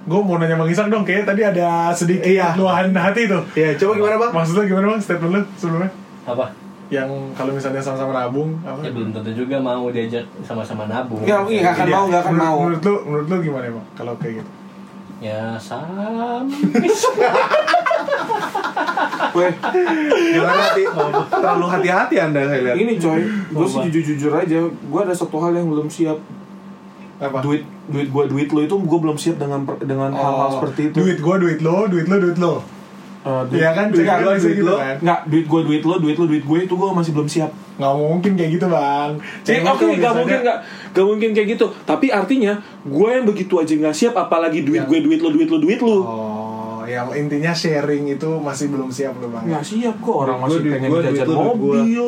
[SPEAKER 4] gue mau nanya bang Isak dong kayaknya tadi ada sedikit
[SPEAKER 2] Iya.
[SPEAKER 4] luahan hati tuh
[SPEAKER 2] Iya, coba gimana bang?
[SPEAKER 4] maksudnya gimana bang statement lu sebelumnya
[SPEAKER 1] Apa?
[SPEAKER 4] yang kalau misalnya sama-sama nabung apa
[SPEAKER 1] Ya belum tentu juga mau diajak sama-sama nabung.
[SPEAKER 3] Nggak, nggak akan
[SPEAKER 4] Iya.
[SPEAKER 3] mau, nggak akan
[SPEAKER 4] Menurut-
[SPEAKER 3] mau.
[SPEAKER 4] menurut lu menurut lu gimana bang kalau kayak gitu
[SPEAKER 1] Ya sam.
[SPEAKER 3] Weh,
[SPEAKER 2] Gimana hati?
[SPEAKER 5] terlalu hati-hati anda saya lihat
[SPEAKER 3] ini coy, gue sih jujur-jujur aja, gue ada satu hal yang belum siap.
[SPEAKER 4] apa Oh.
[SPEAKER 3] Duit duit gue duit lo itu gue belum siap dengan per- dengan hal-hal seperti itu.
[SPEAKER 4] duit gua duit lo duit lo duit lo
[SPEAKER 3] Eh, duit,
[SPEAKER 4] Iya kan,
[SPEAKER 3] duit,
[SPEAKER 4] cek
[SPEAKER 3] lo,
[SPEAKER 4] lo,
[SPEAKER 3] duit
[SPEAKER 4] gitu
[SPEAKER 3] lo.
[SPEAKER 4] kan.
[SPEAKER 3] Nggak, duit gue duit lo, duit lo duit gue itu gue masih belum siap.
[SPEAKER 4] nggak mungkin kayak gitu bang
[SPEAKER 3] Jadi oke,
[SPEAKER 4] Cewek tuh
[SPEAKER 3] nggak
[SPEAKER 4] biasanya-
[SPEAKER 3] mungkin nggak nggak mungkin kayak gitu. Tapi artinya gue yang begitu aja nggak siap, apalagi duit
[SPEAKER 4] Iya.
[SPEAKER 3] gue duit lo duit lo duit lo.
[SPEAKER 4] oh yang intinya sharing itu masih belum siap lo bang
[SPEAKER 3] Nggak siap kok
[SPEAKER 2] Duit
[SPEAKER 3] orang
[SPEAKER 2] gua,
[SPEAKER 3] masih
[SPEAKER 2] duit
[SPEAKER 3] pengen
[SPEAKER 2] gua, duit
[SPEAKER 3] jajan
[SPEAKER 2] lu, duit gua.
[SPEAKER 3] mobil.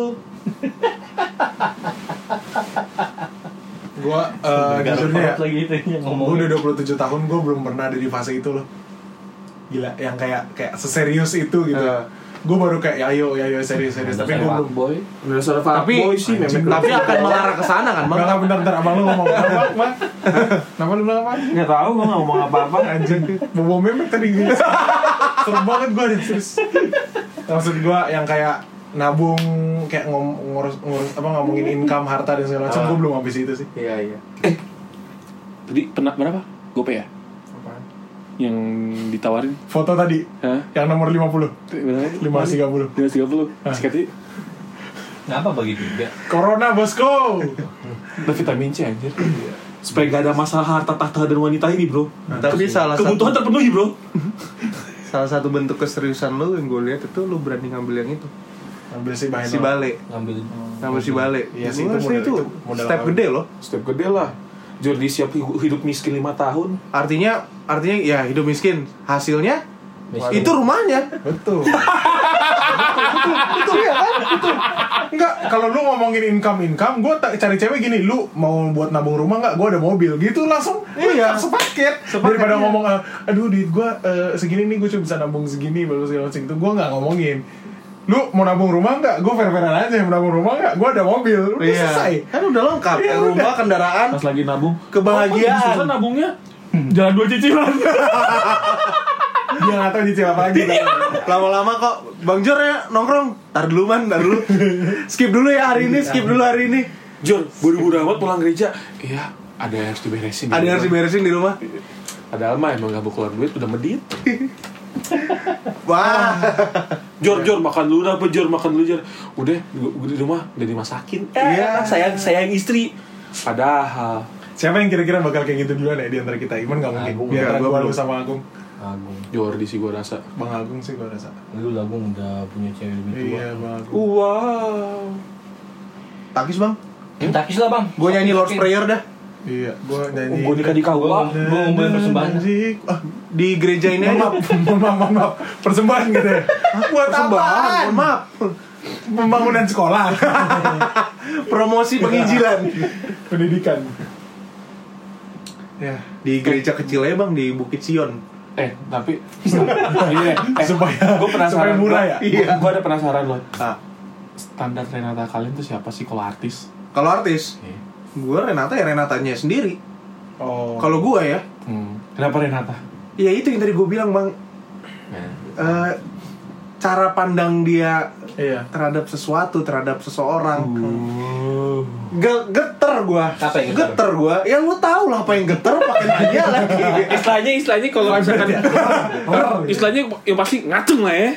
[SPEAKER 4] gua eh, jujurnya ya,
[SPEAKER 1] Garut lagi itu yang
[SPEAKER 4] Gue
[SPEAKER 1] ngomong.
[SPEAKER 4] udah 27 tahun, gue belum pernah ada di fase itu loh Gila, yang kayak kayak seserius itu gitu
[SPEAKER 5] Eh.
[SPEAKER 4] Gue baru kayak, ya ayo, ya ayo, serius, serius Tapi gue belum
[SPEAKER 1] boy.
[SPEAKER 3] Dasar tapi boy sih memang
[SPEAKER 5] tapi akan mengarah ke sana kan
[SPEAKER 4] Bang,
[SPEAKER 5] bang
[SPEAKER 4] bentar, gitu. bentar, bentar, abang lu ngomong apa, bang? Bang? Nama lu bilang apa?
[SPEAKER 3] nggak tahu gue nggak ngomong apa-apa.
[SPEAKER 4] Anjing, bobo memek tadi gue Seru banget gue ada, serius Maksud gue yang kayak nabung kayak ngom- ngurus ngurus apa ngomongin income harta dan segala
[SPEAKER 5] Ah.
[SPEAKER 4] macam gue belum habis itu sih
[SPEAKER 2] Iya, iya.
[SPEAKER 3] Tadi pernah berapa? Gope ya?
[SPEAKER 4] Apaan?
[SPEAKER 3] Yang ditawarin?
[SPEAKER 4] foto tadi
[SPEAKER 3] Hah?
[SPEAKER 4] yang nomor 50
[SPEAKER 3] 530
[SPEAKER 4] 530
[SPEAKER 3] 530 Sekali
[SPEAKER 1] Kenapa bagi tiga?
[SPEAKER 4] Corona bosku
[SPEAKER 3] Udah vitamin C anjir Supaya gak ada masalah harta tahta dan wanita ini bro
[SPEAKER 5] tapi salah satu
[SPEAKER 3] Kebutuhan terpenuhi bro
[SPEAKER 5] salah satu bentuk keseriusan lo yang gue lihat itu lo berani ngambil yang itu
[SPEAKER 4] ambil si bahan
[SPEAKER 5] si balik
[SPEAKER 1] Ngambil.
[SPEAKER 5] ngambil si balik
[SPEAKER 4] Iya sih, itu
[SPEAKER 5] Gua rasa
[SPEAKER 4] modal-
[SPEAKER 5] itu,
[SPEAKER 4] itu modal
[SPEAKER 5] step
[SPEAKER 4] awal.
[SPEAKER 5] gede loh
[SPEAKER 3] Step gede lah Jordi siap hidup hidup miskin 5 tahun
[SPEAKER 5] artinya artinya ya hidup miskin hasilnya
[SPEAKER 1] Miskin.
[SPEAKER 5] itu rumahnya
[SPEAKER 4] Betul. itu ya kan? Itu. Enggak, kalau lu ngomongin income-income, gue cari cewek gini, lu mau buat nabung rumah nggak? Gue ada mobil. Gitu langsung iya. sepaket. Daripada
[SPEAKER 5] iya.
[SPEAKER 4] ngomong, eh, aduh duit gue segini nih, gue cuma bisa nabung segini, baru segala macam itu. Gue nggak ngomongin. Lu mau nabung rumah nggak? Gue fair-fairan aja, mau nabung rumah nggak? Gue ada mobil. Udah selesai.
[SPEAKER 5] kan udah lengkap
[SPEAKER 4] Iya,
[SPEAKER 5] rumah
[SPEAKER 4] udah.
[SPEAKER 5] kendaraan
[SPEAKER 3] Pas lagi nabung Apa
[SPEAKER 5] Kebahagiaan.
[SPEAKER 3] yang susah nabungnya Jalan dua cicilan
[SPEAKER 4] Dia nggak tahu nyicil apa lagi.
[SPEAKER 5] Iya. lama-lama kok bang Jor ya nongkrong tar dulu man tar dulu skip dulu ya hari ini skip dulu hari ini
[SPEAKER 3] Jor buru-buru amat pulang gereja Iya ada yang harus diberesin
[SPEAKER 5] ada yang harus diberesin di rumah
[SPEAKER 3] Padahal mah emang gak mau keluar duit udah medit
[SPEAKER 5] wah
[SPEAKER 3] Jor, Jor, makan dulu apa Jor, makan dulu Jor Udah, gua- gua di rumah udah dimasakin
[SPEAKER 5] Iya.
[SPEAKER 3] sayang, sayang istri Padahal
[SPEAKER 4] Siapa yang kira-kira bakal kayak gitu duluan ya di antara kita? Iman nggak mungkin.
[SPEAKER 1] Agung.
[SPEAKER 4] Di antara
[SPEAKER 5] Nggak, gua
[SPEAKER 4] gue
[SPEAKER 5] belum.
[SPEAKER 4] sama Agung.
[SPEAKER 1] Agung.
[SPEAKER 3] Jordi sih gua rasa
[SPEAKER 4] Bang Agung sih gue rasa.
[SPEAKER 1] Lu Agung udah punya cewek lebih tua.
[SPEAKER 4] Iya, Bang Agung.
[SPEAKER 3] Wow
[SPEAKER 5] takis bang
[SPEAKER 1] Takis lah bang.
[SPEAKER 5] gue nyanyi Lord's Prayer dah
[SPEAKER 4] Iya, gua nyanyi.
[SPEAKER 3] Gue nikah di KUA
[SPEAKER 1] Gua- gua ngumpulin persembahan.
[SPEAKER 4] Ah,
[SPEAKER 5] di gereja ini
[SPEAKER 4] mohon maaf,
[SPEAKER 5] aja
[SPEAKER 4] mohon maaf, mohon maaf. Persembahan gitu ya. Buat
[SPEAKER 5] Persembahan, mohon maaf
[SPEAKER 4] Pembangunan sekolah,
[SPEAKER 5] promosi penginjilan
[SPEAKER 4] pendidikan. Ya,
[SPEAKER 5] di gereja kecil aja bang di Bukit Sion
[SPEAKER 3] Eh, tapi Iya, eh,
[SPEAKER 4] Supaya-
[SPEAKER 3] Gue
[SPEAKER 4] supaya
[SPEAKER 3] penasaran
[SPEAKER 4] murah ya?
[SPEAKER 3] Iya Gue ada penasaran loh
[SPEAKER 5] ah
[SPEAKER 3] Standar Renata kalian tuh siapa sih kalau artis?
[SPEAKER 5] kalau artis gue Renata ya Renatanya sendiri
[SPEAKER 4] oh,
[SPEAKER 5] kalau gue ya
[SPEAKER 3] Hmm. Kenapa Renata?
[SPEAKER 5] ya itu yang tadi gue bilang bang Eh, cara pandang dia
[SPEAKER 4] Iya.
[SPEAKER 5] terhadap sesuatu terhadap seseorang Ge- geter gua
[SPEAKER 1] Apa yang geter?
[SPEAKER 5] Uh. geter gua ya lu tau lah apa yang geter pakai nanya lagi
[SPEAKER 3] Istilahnya istilahnya kalau misalkan iya. istilahnya yang pasti ngacung lah ya.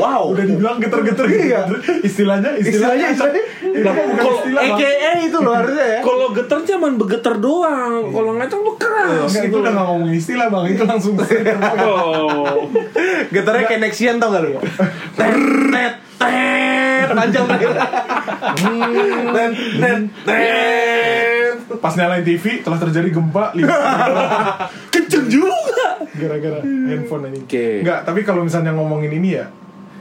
[SPEAKER 5] wow
[SPEAKER 2] Udah dibilang geter-geter
[SPEAKER 4] gitu.
[SPEAKER 5] Iya.
[SPEAKER 2] geter. Istilahnya
[SPEAKER 5] istilahnya
[SPEAKER 2] istilahnya
[SPEAKER 5] istilahnya
[SPEAKER 2] Kenapa bukan
[SPEAKER 3] Kalau
[SPEAKER 2] istilah? Bang?
[SPEAKER 5] eh itu loh harusnya ya
[SPEAKER 3] Kalau geter cuman begeter doang. Kalau ngacung tuh keras.
[SPEAKER 2] Enggak, itu udah nggak ngomongin istilah bang, itu langsung
[SPEAKER 3] Oh.
[SPEAKER 5] geternya kayak Nexian tau gak lu tet tet tet panjang terakhir tet tet tet
[SPEAKER 2] Pas nyalain TV, telah terjadi gempa lima
[SPEAKER 3] Kenceng juga.
[SPEAKER 2] Gara-gara handphone aja
[SPEAKER 3] Oke.
[SPEAKER 2] Enggak, tapi kalau misalnya ngomongin ini ya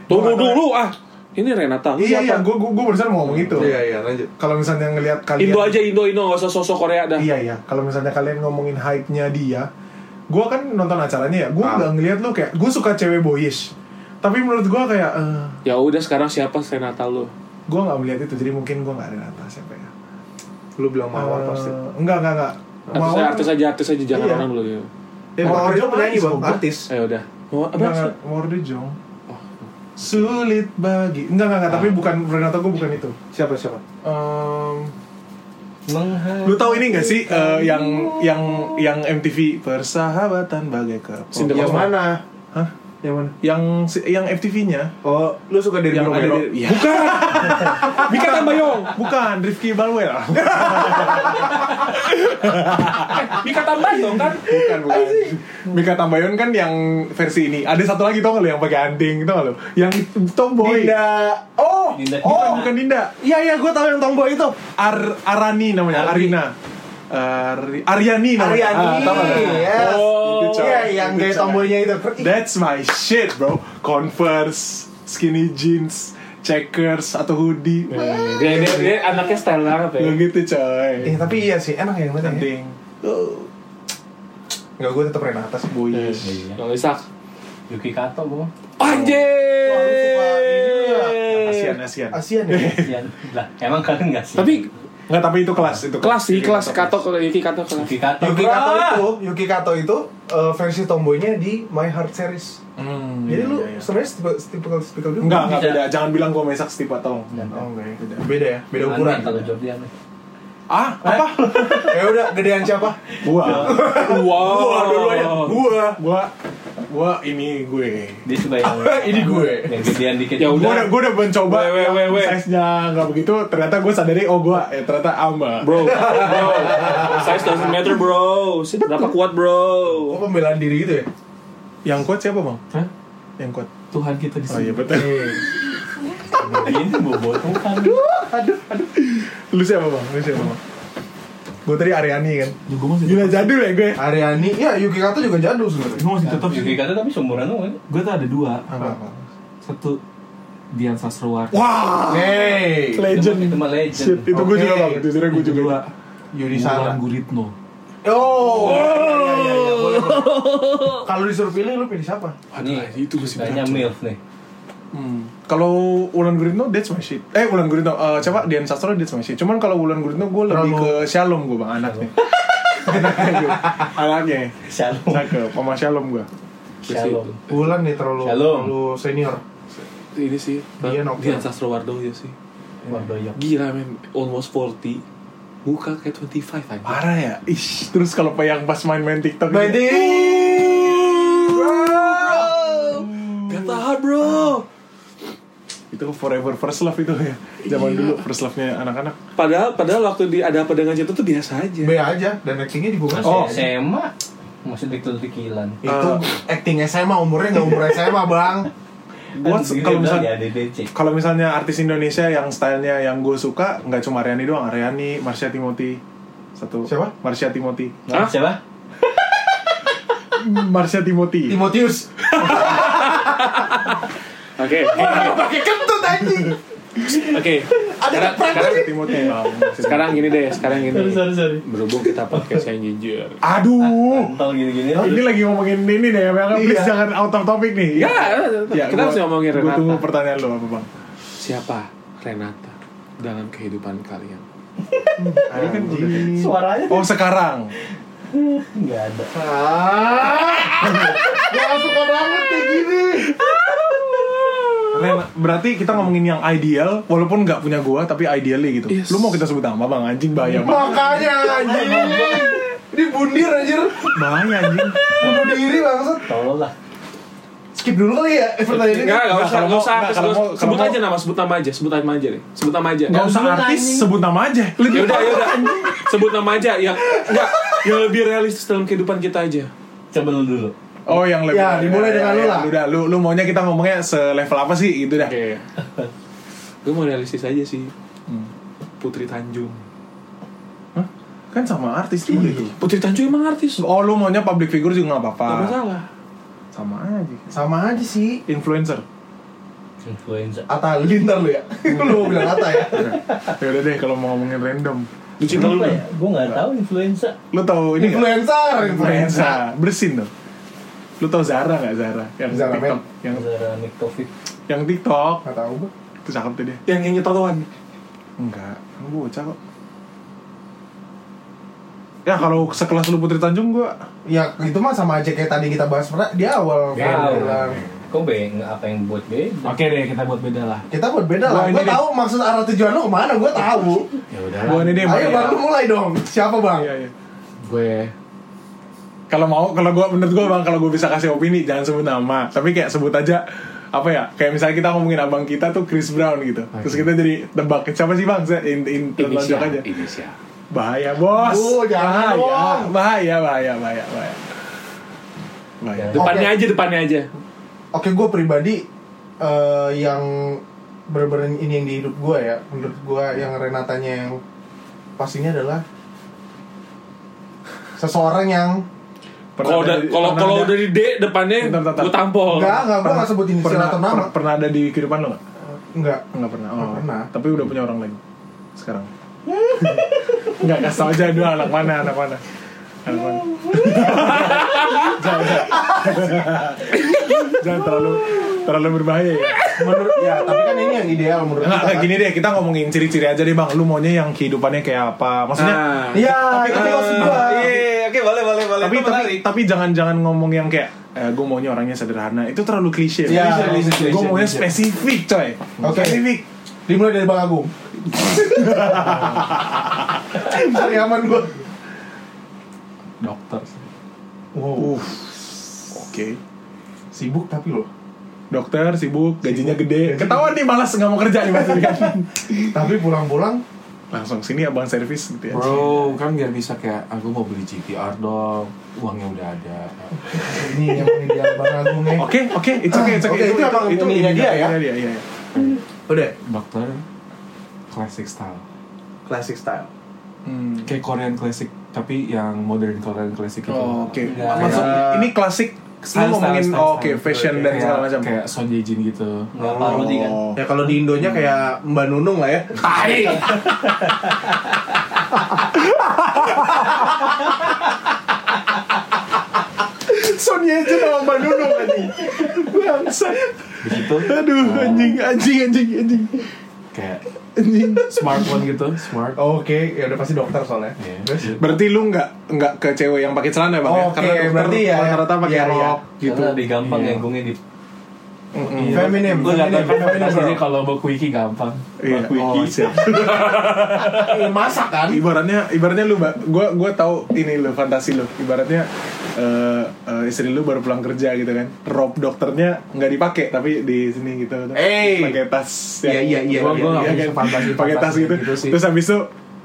[SPEAKER 3] Tunggu dulu ah. Ini Renata.
[SPEAKER 2] Iya,
[SPEAKER 3] siapa?
[SPEAKER 2] iya, gue gue barusan mau ngomong itu
[SPEAKER 5] iya lanjut
[SPEAKER 2] Kalau misalnya ngelihat kalian
[SPEAKER 3] Indo aja Indo Indo nggak usah sosok Korea dah.
[SPEAKER 2] Iya iya, kalau misalnya kalian ngomongin hype-nya dia, gue kan nonton acaranya ya, gue
[SPEAKER 5] Ah.
[SPEAKER 2] nggak ngeliat lo kayak, gue suka cewek boyish, tapi menurut gue kayak, eh,
[SPEAKER 3] Ya udah sekarang siapa Renata lo?
[SPEAKER 2] gue nggak melihat itu, jadi mungkin gue nggak ada rata siapa ya.
[SPEAKER 5] lu bilang
[SPEAKER 2] Eh, Enggak enggak enggak.
[SPEAKER 3] Artis, artis aja artis aja jangan
[SPEAKER 2] Iya.
[SPEAKER 3] orang dulu ya.
[SPEAKER 5] eh
[SPEAKER 2] Mawar
[SPEAKER 5] mawar
[SPEAKER 2] Jo
[SPEAKER 5] itu penyanyi
[SPEAKER 2] nangis,
[SPEAKER 5] bang
[SPEAKER 2] goblok.
[SPEAKER 5] artis
[SPEAKER 3] Eh udah. Mau apa
[SPEAKER 2] enggak
[SPEAKER 3] sih?
[SPEAKER 2] enggak, Mawar De Jong. Sulit bagi, enggak enggak enggak, tapi
[SPEAKER 3] Ah.
[SPEAKER 2] bukan Renata gue bukan itu.
[SPEAKER 5] siapa siapa
[SPEAKER 2] Em,
[SPEAKER 4] Lu tahu ini gak sih eh, yang yang yang MTV persahabatan bagai
[SPEAKER 3] Cinderella.
[SPEAKER 4] kepo.
[SPEAKER 5] yang mana
[SPEAKER 2] Hah?
[SPEAKER 5] yang mana
[SPEAKER 4] Yang si- yang MTV-nya
[SPEAKER 5] oh lu suka dari
[SPEAKER 4] yang ada
[SPEAKER 5] Romero
[SPEAKER 4] di- ya. bukan
[SPEAKER 3] Mika Tambayong.
[SPEAKER 4] bukan Rifki Balwell.
[SPEAKER 3] Mika Tambayong kan?
[SPEAKER 4] bukan bukan. Mika Tambayon kan yang versi ini. Ada satu lagi tau gak lu yang pakai anting tau gak lu? Yang tomboy.
[SPEAKER 5] Dinda oh
[SPEAKER 1] Dinda.
[SPEAKER 5] oh
[SPEAKER 4] Bukan bukan Dinda.
[SPEAKER 5] iya iya gue tahu yang tomboy itu
[SPEAKER 4] Ar Arani namanya,
[SPEAKER 1] Arani.
[SPEAKER 4] Arina. Ari Ariani namanya.
[SPEAKER 5] Ariani
[SPEAKER 4] Ah, tau nggak lu?
[SPEAKER 5] yes
[SPEAKER 3] Oh.
[SPEAKER 5] Itu iya yang gaya tomboynya itu
[SPEAKER 4] That's my shit, bro. Converse, skinny jeans, checkers atau hoodie. Wah,
[SPEAKER 3] Dia, dia, dia anaknya style banget ya.
[SPEAKER 4] Nggak gitu,
[SPEAKER 5] Eh,
[SPEAKER 4] coy.
[SPEAKER 5] tapi iya sih enak yang mana ya
[SPEAKER 4] Penting.
[SPEAKER 5] nggak gue tetap Renata sih
[SPEAKER 4] Boyish.
[SPEAKER 1] Iya.
[SPEAKER 3] Yang Isak.
[SPEAKER 1] Yuki Kato gua.
[SPEAKER 3] Anjir.
[SPEAKER 5] Wah, lu suka ini ya.
[SPEAKER 4] Asian, Asian.
[SPEAKER 5] Asian ya
[SPEAKER 1] Kasihan. Lah, emang kalian enggak sih?
[SPEAKER 3] Tapi
[SPEAKER 4] Nggak, tapi itu kelas. itu
[SPEAKER 3] kelas sih kelas kato kalau Yuki kato kelas.
[SPEAKER 1] Yuki Kato.
[SPEAKER 5] Yuki Kato itu Yuki Kato itu eh, versi tomboynya di My Heart series
[SPEAKER 4] Hmm,
[SPEAKER 5] jadi
[SPEAKER 4] iya,
[SPEAKER 5] lu
[SPEAKER 4] iya, iya.
[SPEAKER 5] sebenarnya tipikal tipikal tipikal juga
[SPEAKER 4] Enggak, enggak
[SPEAKER 1] Tidak.
[SPEAKER 4] beda. Jangan bilang gue mesak setipe tolong.
[SPEAKER 5] kan? Iya. oh enggak ya beda, beda ya beda
[SPEAKER 1] Aneh
[SPEAKER 5] ukuran
[SPEAKER 1] kalau jawab dia aneh.
[SPEAKER 4] Ah, apa?
[SPEAKER 5] ya udah gedean siapa
[SPEAKER 4] Gua.
[SPEAKER 3] Wow.
[SPEAKER 5] gua dulu ya gua
[SPEAKER 4] Gua gua ini gue.
[SPEAKER 1] Dia suka yang
[SPEAKER 5] ini gue
[SPEAKER 1] yang gedean dikit.
[SPEAKER 3] Ya
[SPEAKER 4] Gue
[SPEAKER 3] udah
[SPEAKER 4] udah, gua udah mencoba
[SPEAKER 3] Weh, weh, weh, weh.
[SPEAKER 4] size-nya nggak begitu, ternyata gue sadari oh gue ya ternyata ama.
[SPEAKER 3] bro, bro, size doesn't matter bro, berapa kuat
[SPEAKER 5] Kok
[SPEAKER 3] bro?
[SPEAKER 5] pembelaan diri gitu ya?
[SPEAKER 4] Yang kuat siapa bang?
[SPEAKER 1] Hah?
[SPEAKER 4] Yang kuat.
[SPEAKER 1] Tuhan kita di
[SPEAKER 4] Oh
[SPEAKER 1] sini.
[SPEAKER 4] iya betul.
[SPEAKER 1] Ini bobo Tuhan.
[SPEAKER 4] Lu siapa bang? Lu siapa bang? Gue tadi Ariani kan.
[SPEAKER 1] Ya, gua masih
[SPEAKER 4] Gila jadul ya gue.
[SPEAKER 5] Ariani, ya Yuki Kato juga jadul sebenarnya.
[SPEAKER 6] gue masih tetap
[SPEAKER 1] Yuki Kato tapi seumuran lu kan.
[SPEAKER 6] gue tuh ada dua satu Dian Sastrowardi
[SPEAKER 4] Wah.
[SPEAKER 5] Hey,
[SPEAKER 4] Legend.
[SPEAKER 1] Itu mah legend.
[SPEAKER 4] Shit, itu gue
[SPEAKER 5] Oke.
[SPEAKER 4] juga bang. Jujur gue
[SPEAKER 6] yang
[SPEAKER 4] juga.
[SPEAKER 6] kedua
[SPEAKER 5] Yudi
[SPEAKER 6] Wulan
[SPEAKER 5] Sara.
[SPEAKER 6] Guritno
[SPEAKER 5] Oh, iya, iya, iya, iya, boleh, boleh. kalau disuruh pilih lu pilih siapa?
[SPEAKER 1] Nih, itu ceritanya milf nih.
[SPEAKER 4] Hmm. Kalau Wulan Guritno, that's my shit. Eh, Wulan Guritno, eh coba Dian Sastro, that's my shit. Cuman kalau Wulan Guritno, gue lebih ke
[SPEAKER 5] Terlalu-
[SPEAKER 4] Shalom gue bang, anaknya. anaknya gue. Anaknya.
[SPEAKER 1] Shalom.
[SPEAKER 4] Cakep, sama Shalom gue.
[SPEAKER 1] Shalom.
[SPEAKER 5] Bulan nih terlalu
[SPEAKER 1] Shalom.
[SPEAKER 5] terlalu senior.
[SPEAKER 3] Ini sih,
[SPEAKER 5] Dian Okta.
[SPEAKER 3] Dian Sastrowardoyo iya sih.
[SPEAKER 1] Wardoyo.
[SPEAKER 3] Gila men, almost 40 Buka kayak 25 aja
[SPEAKER 4] Parah ya? Ish, terus kalau yang pas main-main TikTok
[SPEAKER 5] Main
[SPEAKER 4] gitu.
[SPEAKER 3] Gak tahan bro
[SPEAKER 4] Itu forever first love itu ya.
[SPEAKER 5] Iya.
[SPEAKER 4] Zaman dulu first love-nya anak-anak.
[SPEAKER 3] Padahal, padahal waktu di, ada apa dengan cinta tuh biasa aja
[SPEAKER 5] B aja dan actingnya juga masih.
[SPEAKER 1] Masih
[SPEAKER 4] Oh.
[SPEAKER 1] SMA masih dikel-dikilan.
[SPEAKER 5] Itu
[SPEAKER 4] Ah.
[SPEAKER 5] acting SMA umurnya nggak umur SMA bang.
[SPEAKER 4] Gua se- kalau misalnya
[SPEAKER 1] ya DDC.
[SPEAKER 4] kalau misalnya artis Indonesia yang stylenya yang gue suka nggak cuma Ariani doang, Ariani, Marsha Timothy satu
[SPEAKER 5] Siapa?
[SPEAKER 4] Marsha Timothy
[SPEAKER 3] Hah?
[SPEAKER 1] Nah, Siapa?
[SPEAKER 4] Marsha Timothy
[SPEAKER 5] Timotius.
[SPEAKER 3] Oke,
[SPEAKER 5] Orang pakai kentut anjing.
[SPEAKER 3] oke
[SPEAKER 5] Ada prank.
[SPEAKER 4] Marsha Timothy Bang. Marsha
[SPEAKER 3] Sekarang gini deh, sekarang gini
[SPEAKER 1] sorry.
[SPEAKER 3] Berhubung kita podcast yang jujur
[SPEAKER 4] Timothy. aduh
[SPEAKER 1] Kontol gini-gini. Oh,
[SPEAKER 4] ini lagi ngomongin ini deh ya Bang. please jangan out of topic nih
[SPEAKER 3] Ya, kita harus ngomongin
[SPEAKER 4] gue Iya. tunggu
[SPEAKER 3] Renata
[SPEAKER 4] pertanyaan lo apa bang
[SPEAKER 3] Siapa Renata dalam kehidupan kalian?
[SPEAKER 4] Ini kan gini.
[SPEAKER 1] Suaranya
[SPEAKER 4] oh sekarang
[SPEAKER 1] enggak ada.
[SPEAKER 5] Ah, gak suka banget kayak gini.
[SPEAKER 4] Ren, berarti kita ngomongin yang ideal, walaupun nggak punya gua, tapi idealnya gitu.
[SPEAKER 3] Yes.
[SPEAKER 4] Lu mau kita sebut nama bang anjing bahaya banget.
[SPEAKER 2] Makanya anjing. Ini bundir anjir.
[SPEAKER 4] Bahaya anjing.
[SPEAKER 2] Bunuh diri langsung.
[SPEAKER 1] Tolol lah.
[SPEAKER 2] Skip dulu kali ya pertanyaan ini.
[SPEAKER 3] Enggak, enggak usah,
[SPEAKER 4] kalau
[SPEAKER 3] enggak
[SPEAKER 4] mau-
[SPEAKER 3] usah. terus
[SPEAKER 4] nggak, kalau
[SPEAKER 3] nggak
[SPEAKER 4] mau-
[SPEAKER 3] usah. Sebut
[SPEAKER 4] kalau
[SPEAKER 3] aja nama, sebut nama aja, sebut nama aja deh. Sebut nama aja.
[SPEAKER 4] Gak usah artis, sebut nama aja.
[SPEAKER 3] Ya udah, ya udah. Sebut nama aja yang enggak yang lebih realistis dalam kehidupan kita aja.
[SPEAKER 1] Coba lu dulu.
[SPEAKER 4] Oh yang lebih.
[SPEAKER 2] Ya, dimulai dengan lu lah.
[SPEAKER 4] Udah, lu, lu maunya kita ngomongnya selevel apa sih gitu dah.
[SPEAKER 3] Oke. Gue mau realistis aja sih.
[SPEAKER 4] Hmm.
[SPEAKER 3] Putri Tanjung.
[SPEAKER 4] Hah? Kan sama artis tuh gitu.
[SPEAKER 3] Putri Tanjung emang artis.
[SPEAKER 4] Oh lu maunya public figure juga nggak apa-apa.
[SPEAKER 3] Gak masalah.
[SPEAKER 4] Sama aja.
[SPEAKER 2] Sama aja sih.
[SPEAKER 4] Influencer.
[SPEAKER 1] Influenza.
[SPEAKER 2] Ata lintar lu ya. lu mau bilang Ata ya.
[SPEAKER 4] ya udah deh kalau mau ngomongin random.
[SPEAKER 3] Lucinta lu
[SPEAKER 1] Apa
[SPEAKER 3] dong.
[SPEAKER 1] ya? Gue nggak tahu influenza.
[SPEAKER 4] Lu tahu ini nggak?
[SPEAKER 2] Influencer, influencer.
[SPEAKER 4] Influenza. Bersin tuh. Lu tahu Zara nggak Zara? Yang
[SPEAKER 2] Zara,
[SPEAKER 4] TikTok.
[SPEAKER 2] men.
[SPEAKER 4] Yang
[SPEAKER 1] Antara Nick Taufik.
[SPEAKER 4] yang TikTok.
[SPEAKER 2] Enggak tahu gua.
[SPEAKER 4] Itu cakep tuh dia.
[SPEAKER 3] Yang nyanyi tatoan.
[SPEAKER 4] Enggak, kamu bocah kok. Ya kalau sekelas lu Putri Tanjung gua
[SPEAKER 2] Ya itu mah sama aja kayak tadi kita bahas pernah di awal.
[SPEAKER 1] Ya,
[SPEAKER 2] Gua
[SPEAKER 1] lu.
[SPEAKER 2] bilang,
[SPEAKER 1] Kok beng apa yang buat beda?
[SPEAKER 6] Oke deh, kita buat beda lah.
[SPEAKER 2] Kita buat beda
[SPEAKER 4] Wah,
[SPEAKER 2] lah. Gua
[SPEAKER 4] ini-
[SPEAKER 2] tahu maksud arah tujuan lu kemana, gua tahu.
[SPEAKER 1] Ya udah.
[SPEAKER 4] gua ini dia
[SPEAKER 2] Ayo
[SPEAKER 4] Mbak.
[SPEAKER 2] bang, lu mulai dong. Siapa
[SPEAKER 4] Iya,
[SPEAKER 2] bang?
[SPEAKER 4] iya.
[SPEAKER 6] Gue
[SPEAKER 4] Kalau mau kalau gua menurut gua Bang kalau gua bisa kasih opini jangan sebut nama, tapi kayak sebut aja apa ya? Kayak misalnya kita ngomongin abang kita tuh Chris Brown gitu. Terus kita jadi tebak siapa sih Bang? Saya in, in, telonjok aja.
[SPEAKER 6] Indonesia.
[SPEAKER 4] Bahaya, Bos.
[SPEAKER 2] Bu, Oh, jangan,
[SPEAKER 4] bahaya.
[SPEAKER 2] Bang.
[SPEAKER 4] bahaya, bahaya, bahaya, bahaya. Bahaya.
[SPEAKER 1] Ya.
[SPEAKER 3] Depannya aja, depannya aja.
[SPEAKER 2] Oke, gua pribadi eh, yang bener-bener ini yang di hidup gua ya. Menurut gua yang Renatanya yang pastinya adalah seseorang yang
[SPEAKER 4] Pernah
[SPEAKER 3] Kalau
[SPEAKER 4] ada-
[SPEAKER 3] udah- kalau
[SPEAKER 4] pernah
[SPEAKER 3] kalau
[SPEAKER 4] ada-
[SPEAKER 3] udah di D depannya
[SPEAKER 4] Bentar, bentar, bentar.
[SPEAKER 3] gue tampol.
[SPEAKER 2] enggak, enggak, gua nggak sebut inisial
[SPEAKER 4] pernah,
[SPEAKER 2] atau nama.
[SPEAKER 4] per- pernah ada di kehidupan lo nggak?
[SPEAKER 2] Enggak.
[SPEAKER 4] Enggak pernah. Oh,
[SPEAKER 2] Nggak pernah.
[SPEAKER 4] Tapi udah punya orang lain sekarang. Enggak kasih tau aja dua anak mana, anak mana. Anak mana. jangan, jangan. Jangan terlalu terlalu berbahaya ya.
[SPEAKER 2] Menurut ya, tapi kan ini yang ideal menurut
[SPEAKER 4] Enggak,
[SPEAKER 2] kita.
[SPEAKER 4] enggak,
[SPEAKER 2] kan.
[SPEAKER 4] gini deh, kita ngomongin ciri-ciri aja deh Bang. Lu maunya yang kehidupannya kayak apa? Maksudnya
[SPEAKER 3] Nah.
[SPEAKER 2] Iya, tapi Iya, maksud gua.
[SPEAKER 4] Ah, iya,
[SPEAKER 1] oke boleh boleh boleh.
[SPEAKER 4] tapi tapi tapi jangan jangan ngomong yang kayak eh, gue maunya orangnya sederhana itu terlalu klise
[SPEAKER 2] Iya, klise,
[SPEAKER 3] klise,
[SPEAKER 4] gue maunya
[SPEAKER 3] klise.
[SPEAKER 4] spesifik coy
[SPEAKER 2] Oke.
[SPEAKER 4] spesifik
[SPEAKER 2] Dimulai dari Bang Agung. Cari aman gua.
[SPEAKER 6] Dokter.
[SPEAKER 2] Wow,
[SPEAKER 4] Uff. oke
[SPEAKER 2] sibuk tapi loh.
[SPEAKER 4] dokter sibuk gajinya gede ketahuan nih malas nggak mau kerja nih mas Rian.
[SPEAKER 2] Tapi pulang-pulang
[SPEAKER 4] langsung sini abang servis gitu ya
[SPEAKER 6] Bro, kan biar bisa kayak aku mau beli GTR dong. Uangnya udah ada.
[SPEAKER 2] ini yang ideal Bang Agung ya.
[SPEAKER 4] oke oke it's okay it's
[SPEAKER 2] Oke,
[SPEAKER 4] okay
[SPEAKER 2] itu abang ininya dia ya?
[SPEAKER 4] iya, iya, iya.
[SPEAKER 2] Udah,
[SPEAKER 6] Dokter classic style.
[SPEAKER 2] classic style.
[SPEAKER 4] Hmm.
[SPEAKER 6] Kayak Korean classic, tapi yang modern Korean classic gitu.
[SPEAKER 4] Oh, oke
[SPEAKER 6] Kayak-
[SPEAKER 4] Maksud- ini klasik lu
[SPEAKER 6] Style,
[SPEAKER 4] ngomongin
[SPEAKER 6] style,
[SPEAKER 4] oh,
[SPEAKER 6] style,
[SPEAKER 4] oke
[SPEAKER 6] style.
[SPEAKER 4] fashion dan
[SPEAKER 6] Kayak-
[SPEAKER 4] segala macam
[SPEAKER 6] Kayak Son Ye Jin gitu.
[SPEAKER 1] Nggak parodi kan?
[SPEAKER 4] Oh.
[SPEAKER 5] Ya kalau di Indonya kayak Mbak Nunung lah ya.
[SPEAKER 4] Sonya aja sama Mbak Nunung anjing Bangsat
[SPEAKER 6] Begitu
[SPEAKER 4] Aduh anjing anjing anjing anjing
[SPEAKER 6] kayak
[SPEAKER 4] anjing
[SPEAKER 6] smart one gitu, smart.
[SPEAKER 2] Oke, ya udah pasti dokter soalnya.
[SPEAKER 6] Iya.
[SPEAKER 4] Berarti lu nggak nggak ke cewek yang pakai celana bang ya?
[SPEAKER 2] Oke,
[SPEAKER 4] Karena dokter
[SPEAKER 2] berarti ya.
[SPEAKER 4] rata-rata pakai
[SPEAKER 2] Iya, iya.
[SPEAKER 4] rok gitu.
[SPEAKER 1] Karena lebih gampang
[SPEAKER 6] Iya.
[SPEAKER 1] ya gungnya di
[SPEAKER 4] Mm-mm.
[SPEAKER 2] Feminim,
[SPEAKER 6] Gue gak tau
[SPEAKER 2] feminim, feminim.
[SPEAKER 6] kan
[SPEAKER 2] bro.
[SPEAKER 6] kalau mau quickie gampang.
[SPEAKER 4] Iya. Oh, siap.
[SPEAKER 2] Eh, Masak kan?
[SPEAKER 4] Ibaratnya ibaratnya lu Mbak, gua gua tahu ini lu fantasi lu. Ibaratnya eh, eh, istri lu baru pulang kerja gitu kan. Rob dokternya nggak dipakai tapi di sini gitu.
[SPEAKER 5] Eh.
[SPEAKER 4] pakai tas.
[SPEAKER 5] Iya, iya, iya,
[SPEAKER 6] Gua- gua
[SPEAKER 5] iya.
[SPEAKER 4] Iya
[SPEAKER 6] nggak bisa
[SPEAKER 4] kan?
[SPEAKER 6] fantasi-
[SPEAKER 4] pakai tas
[SPEAKER 6] fantasi
[SPEAKER 4] gitu.
[SPEAKER 6] gitu sih.
[SPEAKER 4] Terus habis itu